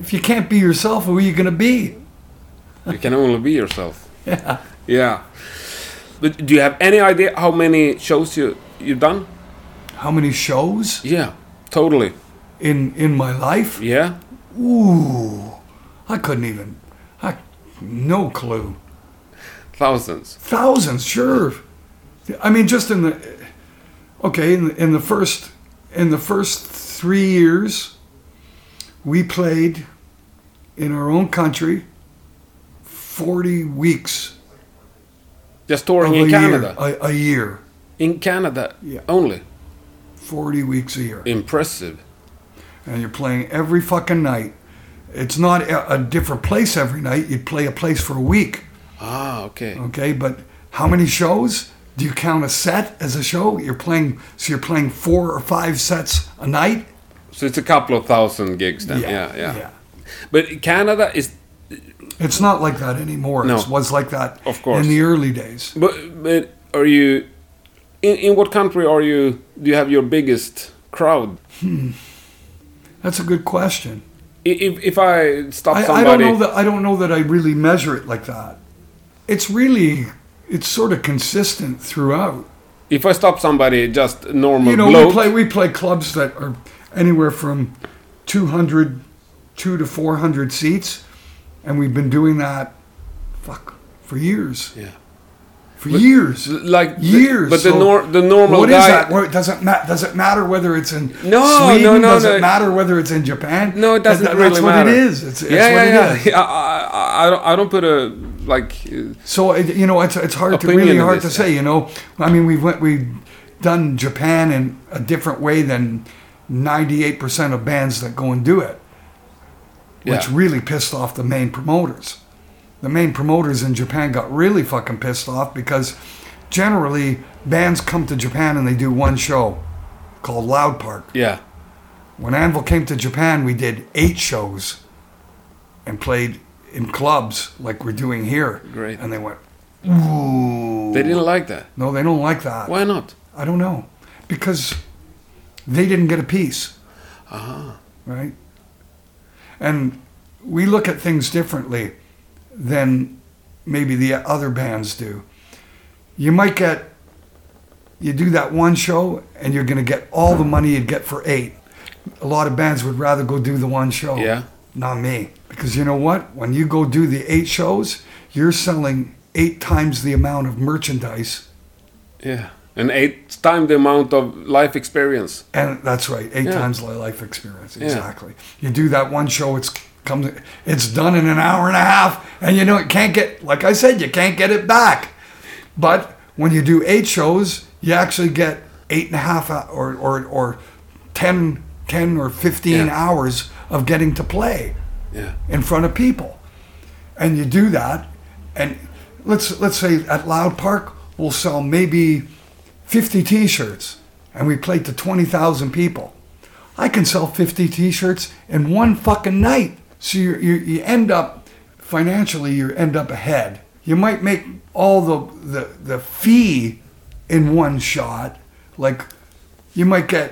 Speaker 1: If you can't be yourself, who are you gonna be?
Speaker 2: you can only be yourself. Yeah. Yeah. But do you have any idea how many shows you you've done?
Speaker 1: How many shows
Speaker 2: Yeah. Totally.
Speaker 1: in in my life?
Speaker 2: Yeah.
Speaker 1: Ooh, I couldn't even. I no clue.
Speaker 2: Thousands.
Speaker 1: Thousands, sure. I mean, just in the okay, in the, in the first in the first three years, we played in our own country forty weeks
Speaker 2: Just
Speaker 1: of
Speaker 2: touring in
Speaker 1: a
Speaker 2: Canada.
Speaker 1: year, a, a year,
Speaker 2: in Canada
Speaker 1: Yeah.
Speaker 2: only.
Speaker 1: forty weeks a year,
Speaker 2: Impressive.
Speaker 1: and you're playing every fucking night. It's not a, a different place every night. You'd play a place for a week,
Speaker 2: Ah, okay.
Speaker 1: okay? But how many shows? Do you count a set as a show? You're playing, so you're playing four or five sets a night.
Speaker 2: So it's a couple of thousand gigs then. Yeah, yeah. But Canada is,
Speaker 1: It's not like that anymore.
Speaker 2: No.
Speaker 1: It was like that
Speaker 2: Of course.
Speaker 1: in the early days.
Speaker 2: but, but are you? In, in what country are you? Do you have your biggest crowd?
Speaker 1: That's a good question.
Speaker 2: I- If if I stop
Speaker 1: I, I don't
Speaker 2: somebody,
Speaker 1: know that I don't know that I really measure it like that. It's really it's sort of consistent throughout.
Speaker 2: if I stop somebody, just a normal
Speaker 1: You know,
Speaker 2: bloke.
Speaker 1: we play we play clubs that are anywhere from 200 2 to 400 seats and we've been doing that fuck for years.
Speaker 2: Yeah.
Speaker 1: For years.
Speaker 2: like the-
Speaker 1: years.
Speaker 2: but the
Speaker 1: so
Speaker 2: nor- the normal
Speaker 1: What is
Speaker 2: guy-
Speaker 1: that? Where it doesn't ma- does it matter whether it's in
Speaker 2: No,
Speaker 1: Sweden?
Speaker 2: no, no,
Speaker 1: does
Speaker 2: no.
Speaker 1: it matter whether it's in Japan?
Speaker 2: No, it doesn't
Speaker 1: That-
Speaker 2: really
Speaker 1: that's
Speaker 2: matter.
Speaker 1: what it is. It's, it's
Speaker 2: yeah,
Speaker 1: what
Speaker 2: yeah,
Speaker 1: it
Speaker 2: yeah,
Speaker 1: is.
Speaker 2: yeah. I, I, I don't, I don't put a like. uh,
Speaker 1: So it, you know, it's it's hard to
Speaker 2: Opinion
Speaker 1: really
Speaker 2: of
Speaker 1: hard
Speaker 2: this,
Speaker 1: to say. You know, I mean, we went we done Japan in a different way than 98% of bands that go and do it, which
Speaker 5: Yeah.
Speaker 1: really pissed off the main promoters. The main promoters in Japan got really fucking pissed off because generally bands come to Japan and they do one show called Loud Park.
Speaker 5: Yeah.
Speaker 1: When Anvil came to Japan, we did eight shows and played in clubs like we're doing here.
Speaker 5: Great.
Speaker 1: And they went, ooh.
Speaker 5: They didn't like that.
Speaker 1: No, they don't like that.
Speaker 5: Why not?
Speaker 1: I don't know. Because they didn't get a piece. Uh-huh. Right? And we look at things differently than maybe the other bands do. You might get, you do that one show and you're going to get all the money you'd get for eight. A lot of bands would rather go do the one show.
Speaker 5: Yeah.
Speaker 1: Not me. Because you know what? When you go do the eight shows, you're selling eight times the amount of merchandise
Speaker 5: Yeah. And eight times the amount of life experience.
Speaker 1: And that's right, eight
Speaker 5: Yeah.
Speaker 1: times my life experience. Exactly. You do that one show, it's comes, it's done in an hour and a half, and you know it can't get. Like I said, you can't get it back. But when you do eight shows, you actually get eight and a half hou- or or or 10, 10 or fifteen
Speaker 5: Yeah.
Speaker 1: hours of getting to play
Speaker 5: Yeah.
Speaker 1: in front of people, and you do that, and let's let's say at Loud Park we'll sell maybe fifty T-shirts, and we play to twenty thousand people. I can sell fifty T-shirts in one fucking night, so you you, you end up financially you end up ahead. You might make all the the the fee in one shot, like you might get.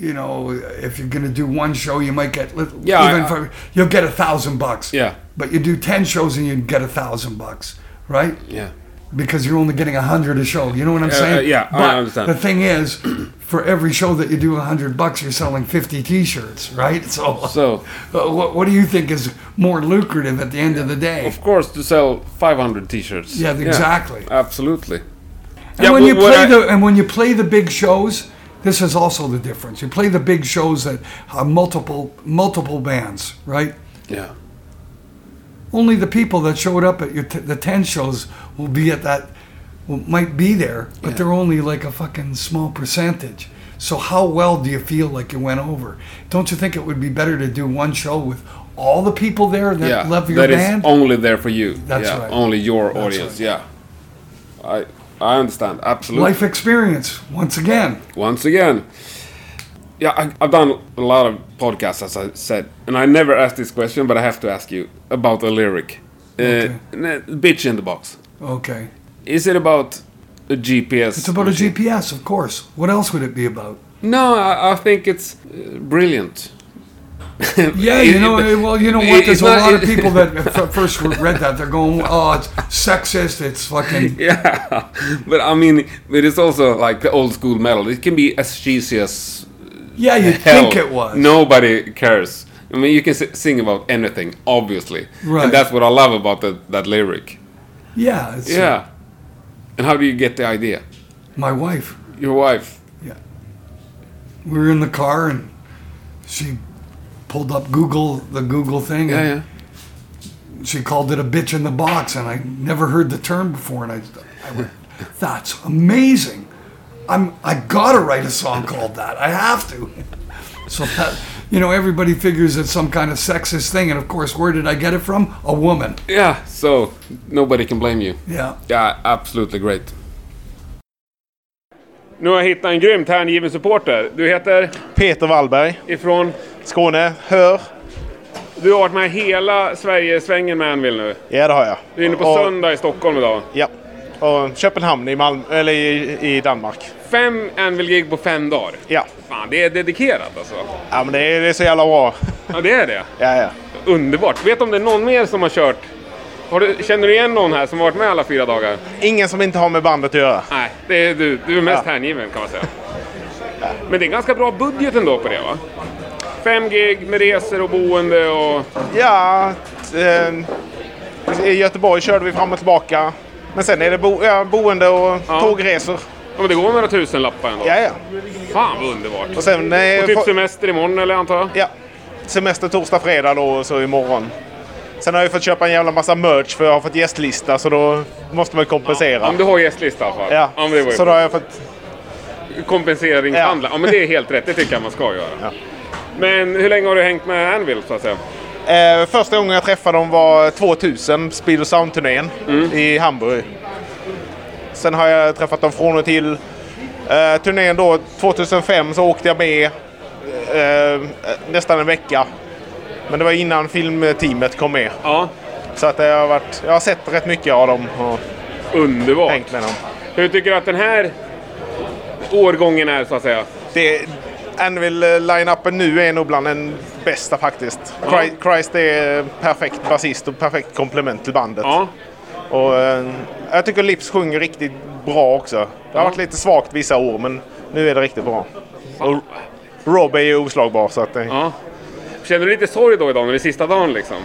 Speaker 1: You know, if you're gonna do one show, you might get lit-
Speaker 5: Yeah, I-
Speaker 1: even for you'll get a thousand bucks.
Speaker 5: Yeah.
Speaker 1: But you do ten shows and you get a thousand bucks, right?
Speaker 5: Yeah.
Speaker 1: Because you're only getting a hundred a show. You know what I'm
Speaker 5: Uh,
Speaker 1: saying?
Speaker 5: uh, yeah, I
Speaker 1: But
Speaker 5: understand.
Speaker 1: The thing is, for every show that you do a hundred bucks, you're selling fifty T-shirts, right? So,
Speaker 5: So-
Speaker 1: uh, what, what do you think is more lucrative at the end of the day?
Speaker 5: Of course, to sell 500 t-shirts.
Speaker 1: Yeah, exactly.
Speaker 5: Absolutely.
Speaker 1: And
Speaker 5: Yeah,
Speaker 1: when
Speaker 5: wh-
Speaker 1: you
Speaker 5: what
Speaker 1: play
Speaker 5: I-
Speaker 1: the and when you play the big shows, this is also the difference. You play the big shows that have multiple multiple bands, right?
Speaker 5: Yeah.
Speaker 1: only the people that showed up at your t- the 10 shows will be at that will, might be there but they're only like a fucking small percentage so how well do you feel like you went over don't you think it would be better to do one show with all the people there that
Speaker 5: yeah.
Speaker 1: love your
Speaker 5: That is
Speaker 1: band
Speaker 5: only there for you.
Speaker 1: That's
Speaker 5: yeah.
Speaker 1: right.
Speaker 5: Only your
Speaker 1: That's
Speaker 5: audience. Yeah. I I understand. Absolutely.
Speaker 1: life experience once again
Speaker 5: once again. Yeah, I, I've done a lot of podcasts, as I said, and I never asked this question, but I have to ask you about a lyric. Uh, n- Bitch in the box.
Speaker 1: okay
Speaker 5: Is it about a GPS?
Speaker 1: it's about a gps of course what else would it be about
Speaker 5: No, I, I think it's uh, brilliant.
Speaker 1: yeah,
Speaker 5: It-
Speaker 1: you know, eh,
Speaker 5: it-
Speaker 1: well, you know
Speaker 5: it-
Speaker 1: what? There's
Speaker 5: it's
Speaker 1: a
Speaker 5: not-
Speaker 1: lot of
Speaker 5: it-
Speaker 1: people that f- first read that they're going, "Oh, it's sexist. It's fucking
Speaker 5: Yeah, but I mean, but it's also like the old school metal. It can be as cheesy as
Speaker 1: yeah." You
Speaker 5: hell.
Speaker 1: think it was?
Speaker 5: Nobody cares. I mean, you can si- sing about anything, obviously,
Speaker 1: Right.
Speaker 5: and that's what I love about that that lyric.
Speaker 1: Yeah, it's
Speaker 5: Yeah. And how do you get the idea?
Speaker 1: my wife.
Speaker 5: Your wife.
Speaker 1: We were in the car and she pulled up Google, the Google thing,
Speaker 5: Yeah,
Speaker 1: and
Speaker 5: yeah.
Speaker 1: she called it a bitch in the box, and I never heard the term before, and I, I went, that's amazing. I'm, I gotta write a song called that. I have to. So that, you know, everybody figures it's some kind of sexist thing, and of course, where did I get it from? A woman.
Speaker 5: Yeah, so nobody can blame you.
Speaker 1: Yeah.
Speaker 5: Ja, absolutely great. Nu har jag hittat en grymt hängiven supporter. Du heter?
Speaker 4: Peter Wallberg,
Speaker 5: Ifrån?
Speaker 4: Skåne, hör.
Speaker 5: Du har varit med hela Sverige-svängen med Anvil nu.
Speaker 4: Ja, det har jag.
Speaker 5: Du är inne på
Speaker 4: Och-
Speaker 5: söndag i Stockholm idag.
Speaker 4: Ja. Och Köpenhamn i, Malmö, eller i, i Danmark.
Speaker 5: Fem Anvil-gig på fem dagar.
Speaker 4: Ja.
Speaker 5: Fan, det är dedikerat alltså.
Speaker 4: Ja, men det är, det är så jävla bra.
Speaker 5: Ja, det är det.
Speaker 4: Ja, ja.
Speaker 5: Underbart. Vet du om det är någon mer som har kört? Har du, känner du igen någon här som har varit med alla fyra dagar?
Speaker 4: Ingen som inte har med bandet att göra.
Speaker 5: Nej, det är du, du är mest
Speaker 4: Ja.
Speaker 5: hängiven kan man säga. Men det är ganska bra budget ändå på det va? Fem gig med resor och boende och...
Speaker 4: Ja, eh, i Göteborg körde vi fram och tillbaka. Men sen är det bo, ja, boende och tågresor.
Speaker 5: Ja, men det går några tusen lappar ändå.
Speaker 4: Ja, ja.
Speaker 5: Fan vad underbart!
Speaker 4: Och sen... Eh,
Speaker 5: Och typ
Speaker 4: få-
Speaker 5: semester imorgon eller antar jag?
Speaker 4: ja. Semester torsdag, fredag då och så imorgon. Sen har jag fått köpa en jävla massa merch för jag har fått gästlista så då måste man kompensera.
Speaker 5: Om du har gästlista i alla fall.
Speaker 4: Ja,
Speaker 5: men det var ju
Speaker 4: så då har jag fått
Speaker 2: kompenseringshandla. Ja. men det är helt rätt. Det tycker jag man ska göra. Men hur länge har du hängt med Anvil så att säga?
Speaker 6: Eh, första gången jag träffade dem var 2000, Speed och Sound-turnén i Hamburg. Sen har jag träffat dem från och till. Eh, turnén då, 2005 så åkte jag med eh, nästan en vecka. Men det var innan filmteamet kom med.
Speaker 2: Ja.
Speaker 6: Så att jag, har varit, jag har sett rätt mycket av dem och
Speaker 2: Underbart!
Speaker 6: hängt med dem.
Speaker 2: Hur tycker du att den här årgången är så att säga?
Speaker 6: Det, Anvil eh, line-upen nu är nog bland den bästa faktiskt. Chri- Christ är perfekt basist och perfekt komplement till bandet.
Speaker 2: Ja.
Speaker 6: Och, eh, jag tycker Lips sjunger riktigt bra också. Det har varit lite svagt vissa år men nu är det riktigt bra. Och Rob är ju oslagbar så att eh, det,
Speaker 2: ja. Känner du lite sorg då idag när det är sista dagen liksom?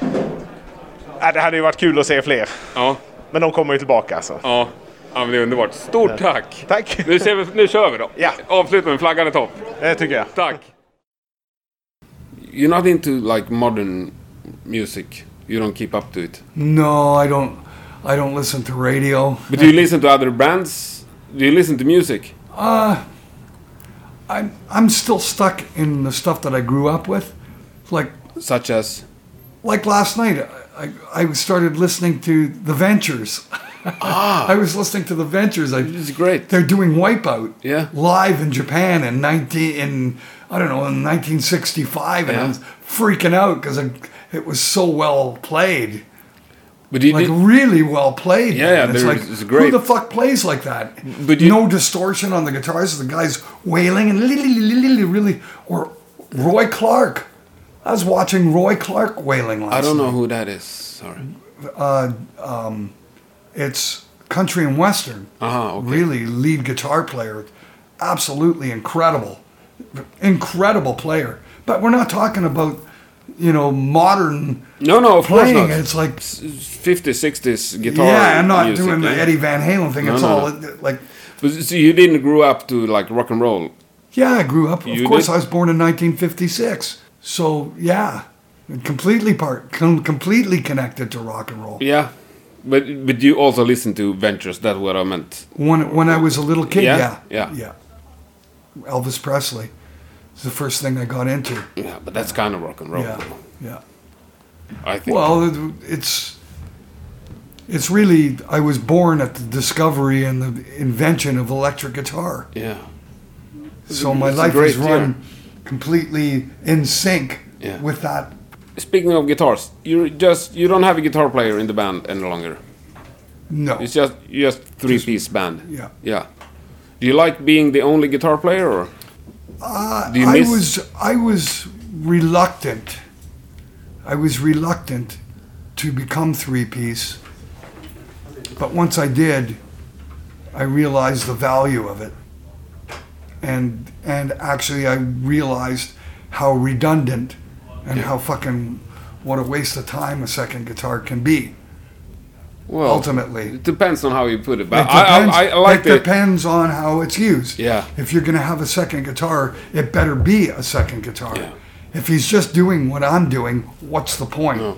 Speaker 6: Ja, äh, det hade ju varit kul att se fler.
Speaker 2: Ja.
Speaker 6: Men de kommer ju tillbaka alltså.
Speaker 2: Ja. Ja men det är underbart. Stort tack!
Speaker 6: Tack!
Speaker 2: Nu, ser vi, nu kör vi då!
Speaker 6: Ja.
Speaker 2: Avsluta med flaggan i topp.
Speaker 6: Det tycker jag.
Speaker 2: Tack!
Speaker 5: You're not into like modern music. You don't keep up to it.
Speaker 1: No, I don't. I don't listen to radio.
Speaker 5: But do you listen to other bands? Do you listen to music?
Speaker 1: I'm I'm still stuck in the stuff that I grew up with, like
Speaker 5: Such as
Speaker 1: like last night. I I started listening to The Ventures.
Speaker 5: Ah.
Speaker 1: I was listening to The Ventures. I
Speaker 5: it's great.
Speaker 1: they're doing Wipeout
Speaker 5: Yeah.
Speaker 1: live in Japan in 19 in I don't know in 1965 and I
Speaker 5: Yeah.
Speaker 1: was freaking out because it was so well played
Speaker 5: But you
Speaker 1: like
Speaker 5: did,
Speaker 1: really well played
Speaker 5: Yeah,
Speaker 1: man.
Speaker 5: yeah,
Speaker 1: it's
Speaker 5: they're-
Speaker 1: like
Speaker 5: it's great.
Speaker 1: who the fuck plays like that
Speaker 5: But you-
Speaker 1: no distortion on the guitars the guys wailing and li- li- li- li- li- really or Roy Clark I was watching Roy Clark wailing last
Speaker 5: I don't
Speaker 1: night. Uh, um,
Speaker 5: know who that is. Sorry.
Speaker 1: it's country and western.
Speaker 5: Ah, okay.
Speaker 1: Really, lead guitar player, absolutely incredible, incredible player. But we're not talking about, you know, modern
Speaker 5: No, no, of course
Speaker 1: playing.
Speaker 5: not.
Speaker 1: It's like,
Speaker 5: 50s, 60s guitar.
Speaker 1: yeah, I'm not
Speaker 5: music,
Speaker 1: doing the
Speaker 5: yeah.
Speaker 1: Eddie Van Halen thing.
Speaker 5: No,
Speaker 1: it's
Speaker 5: no,
Speaker 1: all
Speaker 5: no.
Speaker 1: like,
Speaker 5: But so you didn't grow up to like rock and roll.
Speaker 1: yeah, I grew up.
Speaker 5: You
Speaker 1: of course,
Speaker 5: did?
Speaker 1: I was born in 1956, so yeah, completely part, com- completely connected to rock and roll.
Speaker 5: Yeah. But but you also listen to Ventures. That's what I meant.
Speaker 1: When when I was a little kid,
Speaker 5: Yeah,
Speaker 1: yeah,
Speaker 5: yeah.
Speaker 1: Elvis Presley is the first thing I got into.
Speaker 5: Yeah, but that's kind of rock and roll.
Speaker 1: Yeah, yeah.
Speaker 5: I think.
Speaker 1: Well, it- it's it's really I was born at the discovery and the invention of electric guitar.
Speaker 5: yeah.
Speaker 1: So my
Speaker 5: it's a
Speaker 1: life
Speaker 5: great
Speaker 1: is run completely in sync
Speaker 5: Yeah.
Speaker 1: with that.
Speaker 5: Speaking of guitars, you just you don't have a guitar player in the band any longer.
Speaker 1: No,
Speaker 5: It's just you're just three piece band.
Speaker 1: yeah.
Speaker 5: Yeah. Do you like being the only guitar player or? Do you
Speaker 1: I
Speaker 5: miss?
Speaker 1: was I was reluctant. I was reluctant to become three piece, but once I did, I realized the value of it, and and actually I realized how redundant and how fucking what a waste of time a second guitar can be.
Speaker 5: well,
Speaker 1: ultimately.
Speaker 5: it depends on how you put it. But
Speaker 1: It
Speaker 5: I,
Speaker 1: depends-
Speaker 5: I, I, I like
Speaker 1: it
Speaker 5: the
Speaker 1: depends on how it's used.
Speaker 5: Yeah.
Speaker 1: If you're going to have a second guitar, it better be a second guitar.
Speaker 5: Yeah.
Speaker 1: If he's just doing what I'm doing, what's the point?
Speaker 5: No.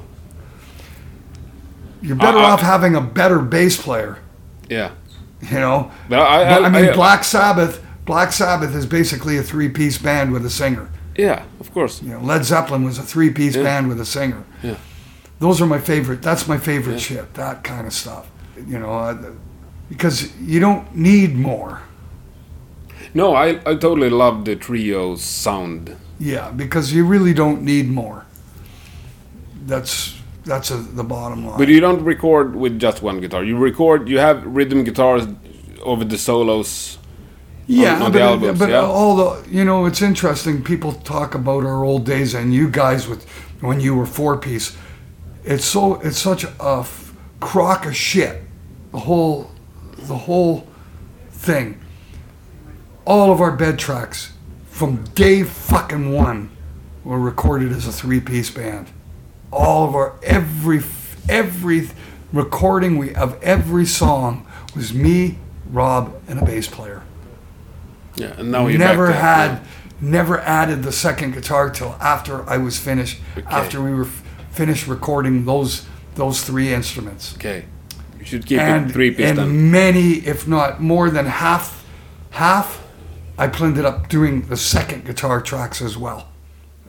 Speaker 1: You're better
Speaker 5: I- I-
Speaker 1: off having a better bass player.
Speaker 5: yeah.
Speaker 1: You know.
Speaker 5: But I- I-
Speaker 1: I mean,
Speaker 5: I-
Speaker 1: Black Sabbath. Black Sabbath is basically a three-piece band with a singer.
Speaker 5: Yeah, of course.
Speaker 1: You know, Led Zeppelin was a three-piece band with a singer.
Speaker 5: Yeah.
Speaker 1: Those are my favorite. That's my favorite shit. That kind of stuff. You know, I, because you don't need more.
Speaker 5: No, I, I totally love the trio sound.
Speaker 1: Yeah, because you really don't need more. That's that's a, the bottom line.
Speaker 5: But you don't record with just one guitar. You record. You have rhythm guitars over the solos.
Speaker 1: yeah,
Speaker 5: on- on the
Speaker 1: but,
Speaker 5: albums,
Speaker 1: but
Speaker 5: yeah.
Speaker 1: all the you know, it's interesting. People talk about our old days, and you guys with when you were four piece. It's so it's such a f- crock of shit. The whole the whole thing. All of our bed tracks from day fucking one were recorded as a three piece band. all of our every every recording we of every song was me, Rob, and a bass player.
Speaker 5: Yeah, and
Speaker 2: Oh,
Speaker 5: now you
Speaker 1: never had never added the second guitar till after I was finished after we were f- finished recording those those three instruments.
Speaker 5: Okay, you should keep
Speaker 1: And,
Speaker 5: it three piece
Speaker 1: and
Speaker 5: then.
Speaker 1: many, if not more than half half I ended up doing the second guitar tracks as well.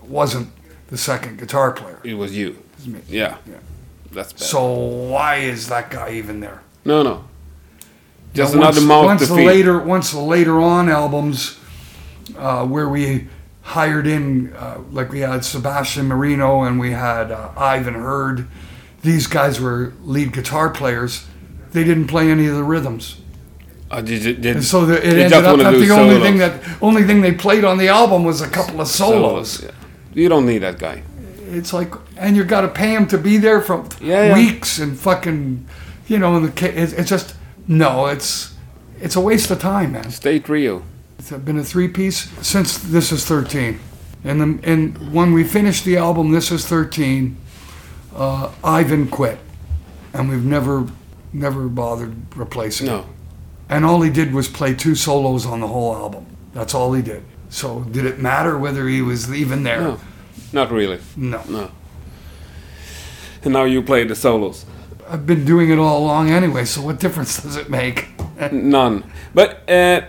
Speaker 1: It wasn't the second guitar player.
Speaker 5: It was you.
Speaker 1: me.
Speaker 5: Yeah.
Speaker 1: Yeah.
Speaker 5: That's bad.
Speaker 1: So why is that guy even there?
Speaker 5: no, no. Just
Speaker 1: Now,
Speaker 5: another mouth
Speaker 1: once
Speaker 5: to
Speaker 1: the
Speaker 5: feed.
Speaker 1: later once the later on albums uh, where we hired in uh, like we had Sebastian Marino and we had uh, Ivan Hurd these guys were lead guitar players they didn't play any of the rhythms
Speaker 5: I ju- ju- ju-
Speaker 1: and so the,
Speaker 5: you
Speaker 1: it
Speaker 5: just
Speaker 1: ended up
Speaker 5: wanna
Speaker 1: that
Speaker 5: do
Speaker 1: the only
Speaker 5: solos.
Speaker 1: thing that only thing they played on the album was a couple of solos,
Speaker 5: yeah. You don't need that guy.
Speaker 1: it's like and you got to pay him to be there for
Speaker 5: Yeah, yeah.
Speaker 1: weeks and fucking you know and the ca- it's it's just no it's it's a waste of time man
Speaker 5: Stay trio.
Speaker 1: It's been a three piece since This Is 13. And, the, and when we finished the album This Is 13, uh, Ivan quit. And we've never, never bothered replacing him.
Speaker 5: No.
Speaker 1: And all he did was play two solos on the whole album. That's all he did. So did it matter whether he was even there?
Speaker 5: No. Not really.
Speaker 1: No.
Speaker 5: No. And now you play the solos.
Speaker 1: I've been doing it all along anyway, so what difference does it make?
Speaker 5: None. But uh,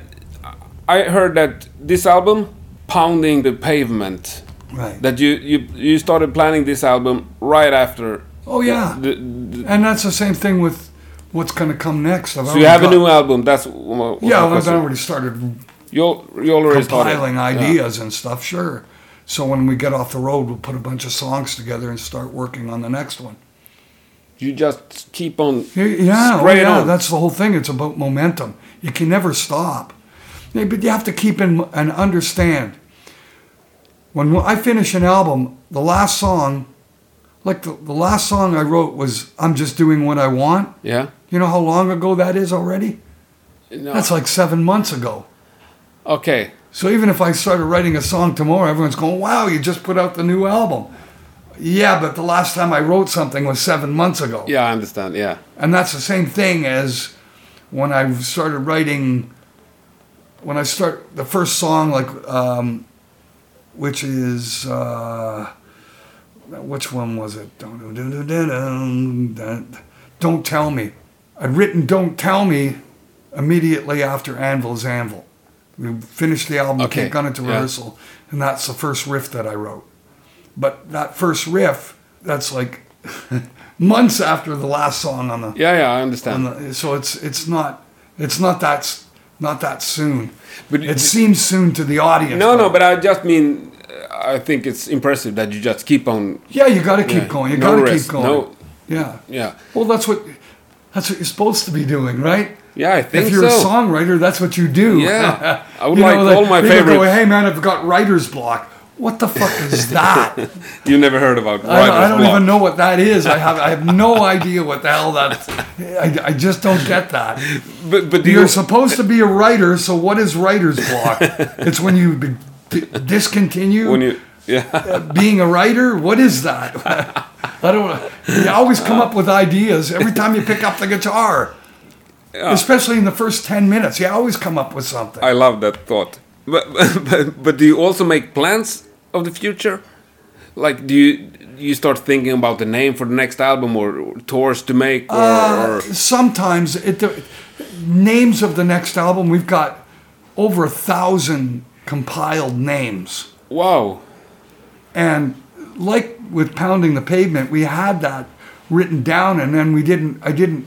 Speaker 5: I heard that this album, Pounding the Pavement,
Speaker 1: Right.
Speaker 5: that you, you, you started planning this album right after.
Speaker 1: oh, yeah.
Speaker 5: The, the,
Speaker 1: and that's the same thing with what's going to come next. I've
Speaker 5: so you have a
Speaker 1: already
Speaker 5: new
Speaker 1: got-
Speaker 5: album. That's what
Speaker 1: Yeah, I've already started
Speaker 5: You al- you already started.
Speaker 1: compiling
Speaker 5: Yeah.
Speaker 1: ideas and stuff, sure. So when we get off the road, we'll put a bunch of songs together and start working on the next one.
Speaker 5: You just keep on.
Speaker 1: Y- Yeah, oh
Speaker 5: Straight
Speaker 1: yeah,
Speaker 5: on.
Speaker 1: that's the whole thing. It's about momentum. You can never stop. Yeah, But you have to keep in and understand. When I finish an album, the last song, like the, the last song I wrote was I'm Just Doing What I Want.
Speaker 5: Yeah.
Speaker 1: You know how long ago that is already?
Speaker 5: No.
Speaker 1: That's like seven months ago.
Speaker 5: okay.
Speaker 1: So even if I started writing a song tomorrow, everyone's going, "Wow, you just put out the new album." Yeah, but the last time I wrote something was seven months ago,
Speaker 5: Yeah, I understand. Yeah.
Speaker 1: and that's the same thing as when I started writing. When I start the first song, like um, which is uh, which one was it? Don't tell me. I'd written "Don't Tell Me" immediately after Anvil's Anvil. We finished the album,
Speaker 5: Okay,
Speaker 1: okay. gun into
Speaker 5: yeah.
Speaker 1: rehearsal, and that's the first riff that I wrote. But that first riff, that's like months after the last song on the.
Speaker 5: Yeah, yeah, I understand.
Speaker 1: on the- uh, so it's it's not it's not that s- not that soon.
Speaker 5: But-
Speaker 1: it seems soon to the audience.
Speaker 5: no, no, but I just mean, uh, I think it's impressive that you just keep on.
Speaker 1: yeah, you got to keep
Speaker 5: yeah,
Speaker 1: going. You
Speaker 5: no
Speaker 1: got to
Speaker 5: rest,
Speaker 1: keep going.
Speaker 5: No,
Speaker 1: Yeah.
Speaker 5: yeah,
Speaker 1: Well, that's what that's what you're supposed to be doing, right?
Speaker 5: yeah, I think
Speaker 1: If you're
Speaker 5: so.
Speaker 1: a songwriter, that's what you do.
Speaker 5: Yeah. I would
Speaker 1: You
Speaker 5: like
Speaker 1: know, like,
Speaker 5: all my
Speaker 1: people Go,
Speaker 5: favorites.
Speaker 1: hey man, I've got writer's block. What the fuck is that? I, don't-
Speaker 5: you never heard about
Speaker 1: I
Speaker 5: writer's
Speaker 1: don't,
Speaker 5: block.
Speaker 1: even know what that is. I have I have no idea what the hell that. I, I just don't get that.
Speaker 5: But, but do
Speaker 1: You're
Speaker 5: you,
Speaker 1: supposed to be a writer, so what is writer's block? it's when you be, d- discontinue
Speaker 5: when you, yeah,
Speaker 1: being a writer? What is that? I don't. You always come up with ideas every time you pick up the guitar, especially in the first ten minutes. You always come up with something.
Speaker 5: I love that thought. But, but but do you also make plans of the future? Like, do you you start thinking about the name for the next album or, or tours to make? Or,
Speaker 1: Uh.
Speaker 5: or
Speaker 1: Sometimes it the names of the next album. We've got over a thousand compiled names.
Speaker 5: wow,
Speaker 1: And like with pounding the pavement, we had that written down, and then we didn't. I didn't.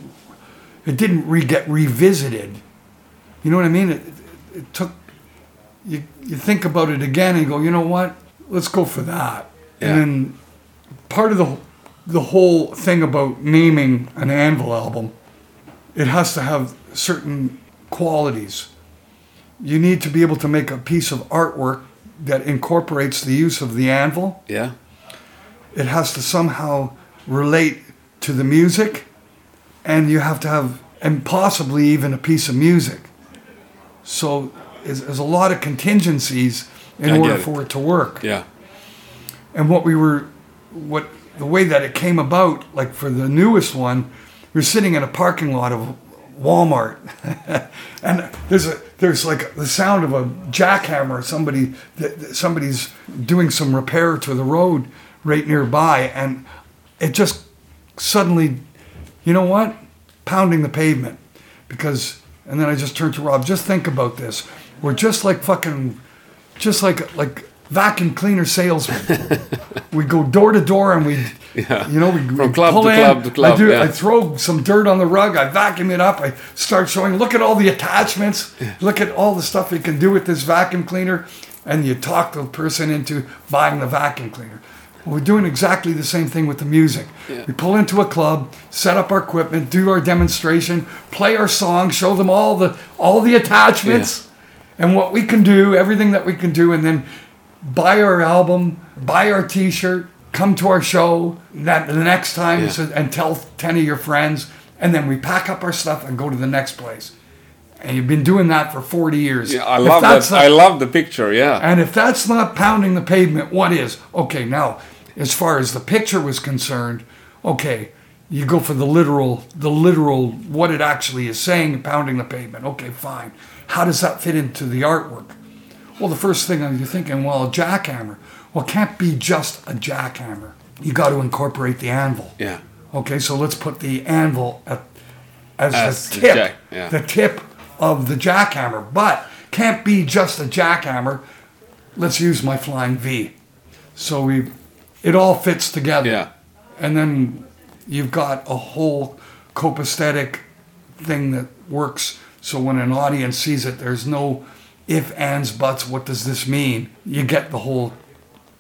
Speaker 1: It didn't re- get revisited. You know what I mean? It, it, it took. You you think about it again and go, you know what? Let's go for that.
Speaker 5: Yeah.
Speaker 1: And then part of the the whole thing about naming an anvil album, it has to have certain qualities you need to be able to make a piece of artwork that incorporates the use of the anvil.
Speaker 5: yeah,
Speaker 1: It has to somehow relate to the music, and you have to have, and possibly even a piece of music. So there's there's a lot of contingencies in
Speaker 5: I
Speaker 1: order
Speaker 5: get it.
Speaker 1: for it to work.
Speaker 5: yeah,
Speaker 1: And what we were, what the way that it came about, like for the newest one, we were sitting in a parking lot of Walmart, and there's a there's like the sound of a jackhammer. Somebody that that somebody's doing some repair to the road right nearby, and it just suddenly, you know what, pounding the pavement, because. And then I just turned to Rob. Just think about this. We're just like fucking, just like like vacuum cleaner salesmen. we go door to door and we, you know, we from
Speaker 5: club to club to club,
Speaker 1: I, do,
Speaker 5: yeah.
Speaker 1: I throw some dirt on the rug. I vacuum it up. I start showing. Look at all the attachments. Look at all the stuff you can do with this vacuum cleaner. And you talk the person into buying the vacuum cleaner. We're doing exactly the same thing with the music. We pull into a club, set up our equipment, do our demonstration, play our song, show them all the all the attachments and what we can do, everything that we can do, and then buy our album, buy our T-shirt, come to our show that the next time, so- and tell ten of your friends, and then we pack up our stuff and go to the next place. And you've been doing that for forty years.
Speaker 5: Yeah, I
Speaker 1: If
Speaker 5: love
Speaker 1: that's
Speaker 5: that.
Speaker 1: not-
Speaker 5: I love the picture. Yeah.
Speaker 1: and if that's not pounding the pavement, what is? Okay, now, as far as the picture was concerned, okay, you go for the literal, the literal, what it actually is saying, pounding the pavement. Okay, fine. How does that fit into the artwork? Well, the first thing you're thinking, well, a jackhammer. Well, it can't be just a jackhammer. You got to incorporate the anvil.
Speaker 5: Yeah.
Speaker 1: Okay, so let's put the anvil at, as,
Speaker 5: As
Speaker 1: the
Speaker 5: the
Speaker 1: tip,
Speaker 5: jack- yeah.
Speaker 1: the tip of the jackhammer, but can't be just a jackhammer. Let's use my flying V. So we, it all fits together.
Speaker 5: Yeah.
Speaker 1: And then you've got a whole copacetic thing that works. So when an audience sees it, there's no if, ands, buts. What does this mean? You get the whole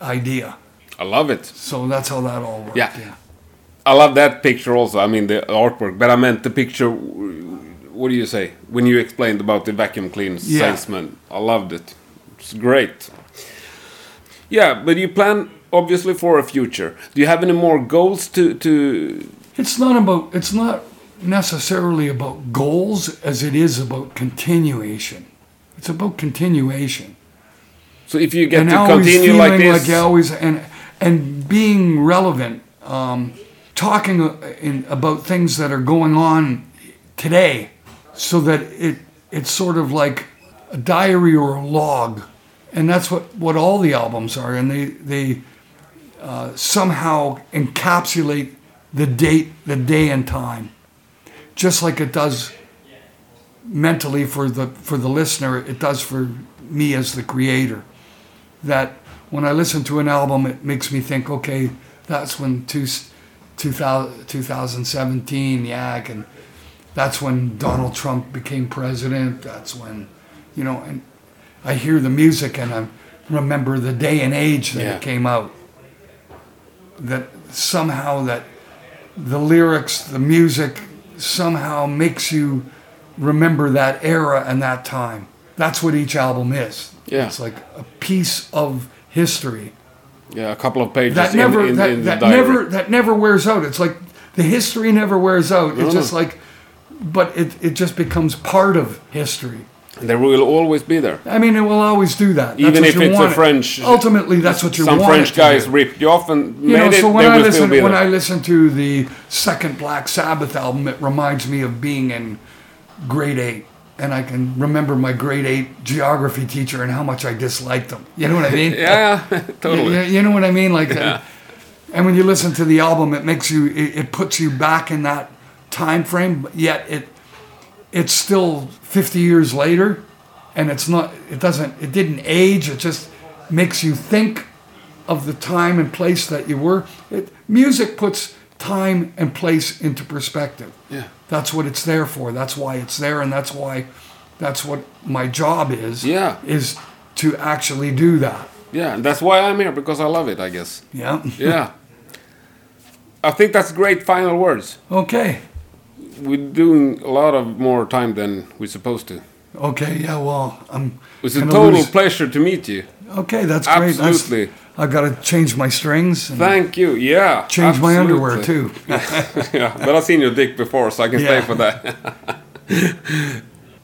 Speaker 1: idea.
Speaker 5: I love it.
Speaker 1: So that's how that all works.
Speaker 5: Yeah. I love that picture also. I mean the artwork, but I meant the picture. What do you say when you explained about the vacuum clean
Speaker 1: Yeah.
Speaker 5: salesman? I loved it. It's great. Yeah, but you plan obviously for a future. Do you have any more goals to to?
Speaker 1: It's not about. It's not necessarily about goals as it is about continuation. It's about continuation.
Speaker 5: So if you get
Speaker 1: and
Speaker 5: to
Speaker 1: always
Speaker 5: continue
Speaker 1: feeling
Speaker 5: like this,
Speaker 1: you always and and being relevant, um, talking uh, in, about things that are going on today, so that it it's sort of like a diary or a log, and that's what what all the albums are, and they they uh, somehow encapsulate the date, the day and time, just like it does mentally for the for the listener, it does for me as the creator that when I listen to an album, it makes me think, okay, that's when two, 2000, 2017, yeah, I can, that's when Donald Trump became president. That's when, you know, and I hear the music and I remember the day and age that
Speaker 5: Yeah.
Speaker 1: it came out. That somehow that the lyrics, the music somehow makes you remember that era and that time. That's what each album is.
Speaker 5: Yeah.
Speaker 1: It's like a piece of history
Speaker 5: yeah, a couple of pages
Speaker 1: that
Speaker 5: in,
Speaker 1: never
Speaker 5: in,
Speaker 1: that,
Speaker 5: in the
Speaker 1: that
Speaker 5: diary.
Speaker 1: never that never wears out. It's like the history never wears out. It's just like but it, it just becomes part of history.
Speaker 5: They will always be there.
Speaker 1: I mean, it will always do that. That's
Speaker 5: Even
Speaker 1: what
Speaker 5: if
Speaker 1: you
Speaker 5: it's a
Speaker 1: want it.
Speaker 5: French-
Speaker 1: ultimately, that's what you
Speaker 5: Some
Speaker 1: want. it
Speaker 5: French
Speaker 1: to be.
Speaker 5: guys ripped you off and
Speaker 1: You know,
Speaker 5: made it.
Speaker 1: so when
Speaker 5: they
Speaker 1: I
Speaker 5: will still
Speaker 1: listen
Speaker 5: be
Speaker 1: when
Speaker 5: there.
Speaker 1: I listen to the second Black Sabbath album, it reminds me of being in grade eight, and I can remember my grade eight geography teacher and how much I disliked them. You know what I mean?
Speaker 5: yeah, totally.
Speaker 1: You, you know what I mean? Like, uh, and when you listen to the album, it makes you, it, it puts you back in that time frame. But yet it, it's still 50 years later, and it's not, it doesn't, it didn't age. It just makes you think of the time and place that you were. It, music puts time and place into perspective. Yeah, that's what it's there for. That's why it's there, and that's why, that's what my job is.
Speaker 5: Yeah.
Speaker 1: is to actually do that.
Speaker 5: Yeah, and that's why I'm here because I love it. I guess.
Speaker 1: Yeah.
Speaker 5: Yeah. I think that's great final words.
Speaker 1: Okay.
Speaker 5: We're doing a lot of more time than we're supposed to.
Speaker 1: Okay. Yeah. Well, I'm.
Speaker 5: It's a
Speaker 1: gonna
Speaker 5: total
Speaker 1: lose- Mm.
Speaker 5: pleasure to meet you.
Speaker 1: Okay, that's great. That's-
Speaker 5: Absolutely.
Speaker 1: I got to change my strings and
Speaker 5: Thank you. Yeah.
Speaker 1: change my underwear
Speaker 5: absolutely.
Speaker 1: too.
Speaker 5: yeah, but I've seen your dick before, so I can
Speaker 1: Yeah.
Speaker 5: stay for that.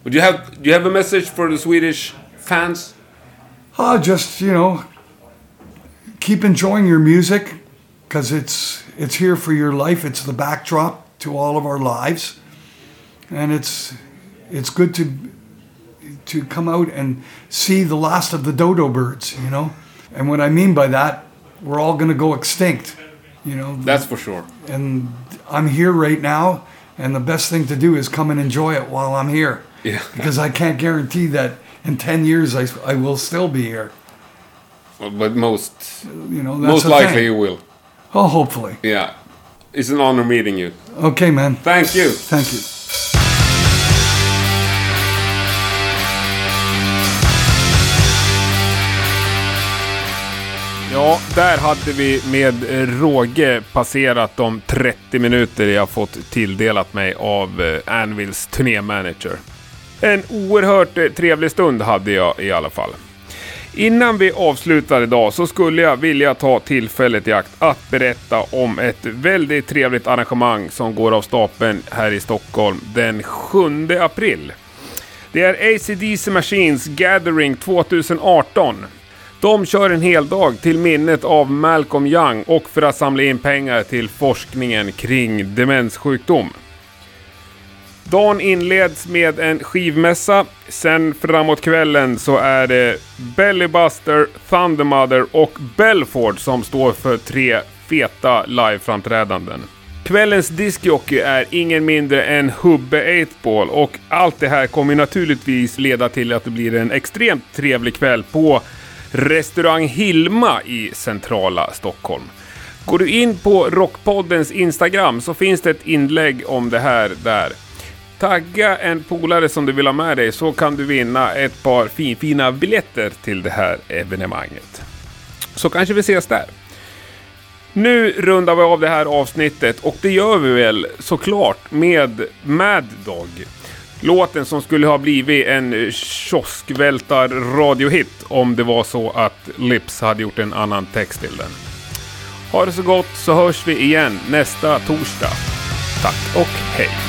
Speaker 5: Would you have do you have a message for the Swedish fans?
Speaker 1: Ah, just you know, keep enjoying your music because it's it's here for your life. It's the backdrop to all of our lives, and it's it's good to to come out and see the last of the dodo birds. You know, and what I mean by that, we're all going to go extinct. You know,
Speaker 5: That's for sure.
Speaker 1: and I'm here right now, and the best thing to do is come and enjoy it while I'm here.
Speaker 5: Yeah.
Speaker 1: Because I can't guarantee that in 10 years, I, I will still be here.
Speaker 2: But most
Speaker 1: You know, that's
Speaker 2: most
Speaker 1: the
Speaker 2: likely
Speaker 1: Thing.
Speaker 2: you will.
Speaker 1: Oh, hopefully.
Speaker 2: Yeah. It's an honor meeting you.
Speaker 1: Okay, man.
Speaker 2: Thank you.
Speaker 1: Thank you.
Speaker 5: Ja, där hade vi med eh, råge passerat de 30 minuter jag fått tilldelat mig av eh, Anvils turnémanager. En oerhört eh, trevlig stund hade jag i alla fall. Innan vi avslutar idag så skulle jag vilja ta tillfället i akt att berätta om ett väldigt trevligt arrangemang som går av stapeln här i Stockholm den 7 april. Det är AC/DC Machines Gathering 2018. De kör en hel dag till minnet av Malcolm Young och för att samla in pengar till forskningen kring demenssjukdom. Dagen inleds med en skivmässa. Sen framåt kvällen så är det Bellybuster, Thundermother och Belford som står för tre feta liveframträdanden. Kvällens discjockey är ingen mindre än Hubbe 8-Ball och allt det här kommer naturligtvis leda till att det blir en extremt trevlig kväll på Restaurang Hilma i centrala Stockholm. Går du in på Rockpoddens Instagram så finns det ett inlägg om det här där. Tagga en polare som du vill ha med dig så kan du vinna ett par finfina biljetter till det här evenemanget. Så kanske vi ses där. Nu rundar vi av det här avsnittet och det gör vi väl såklart med Mad Dog. Låten som skulle ha blivit en kioskvältar-radiohit om det var så att Lips hade gjort en annan text till den. Ha det så gott så hörs vi igen nästa torsdag. Tack och hej!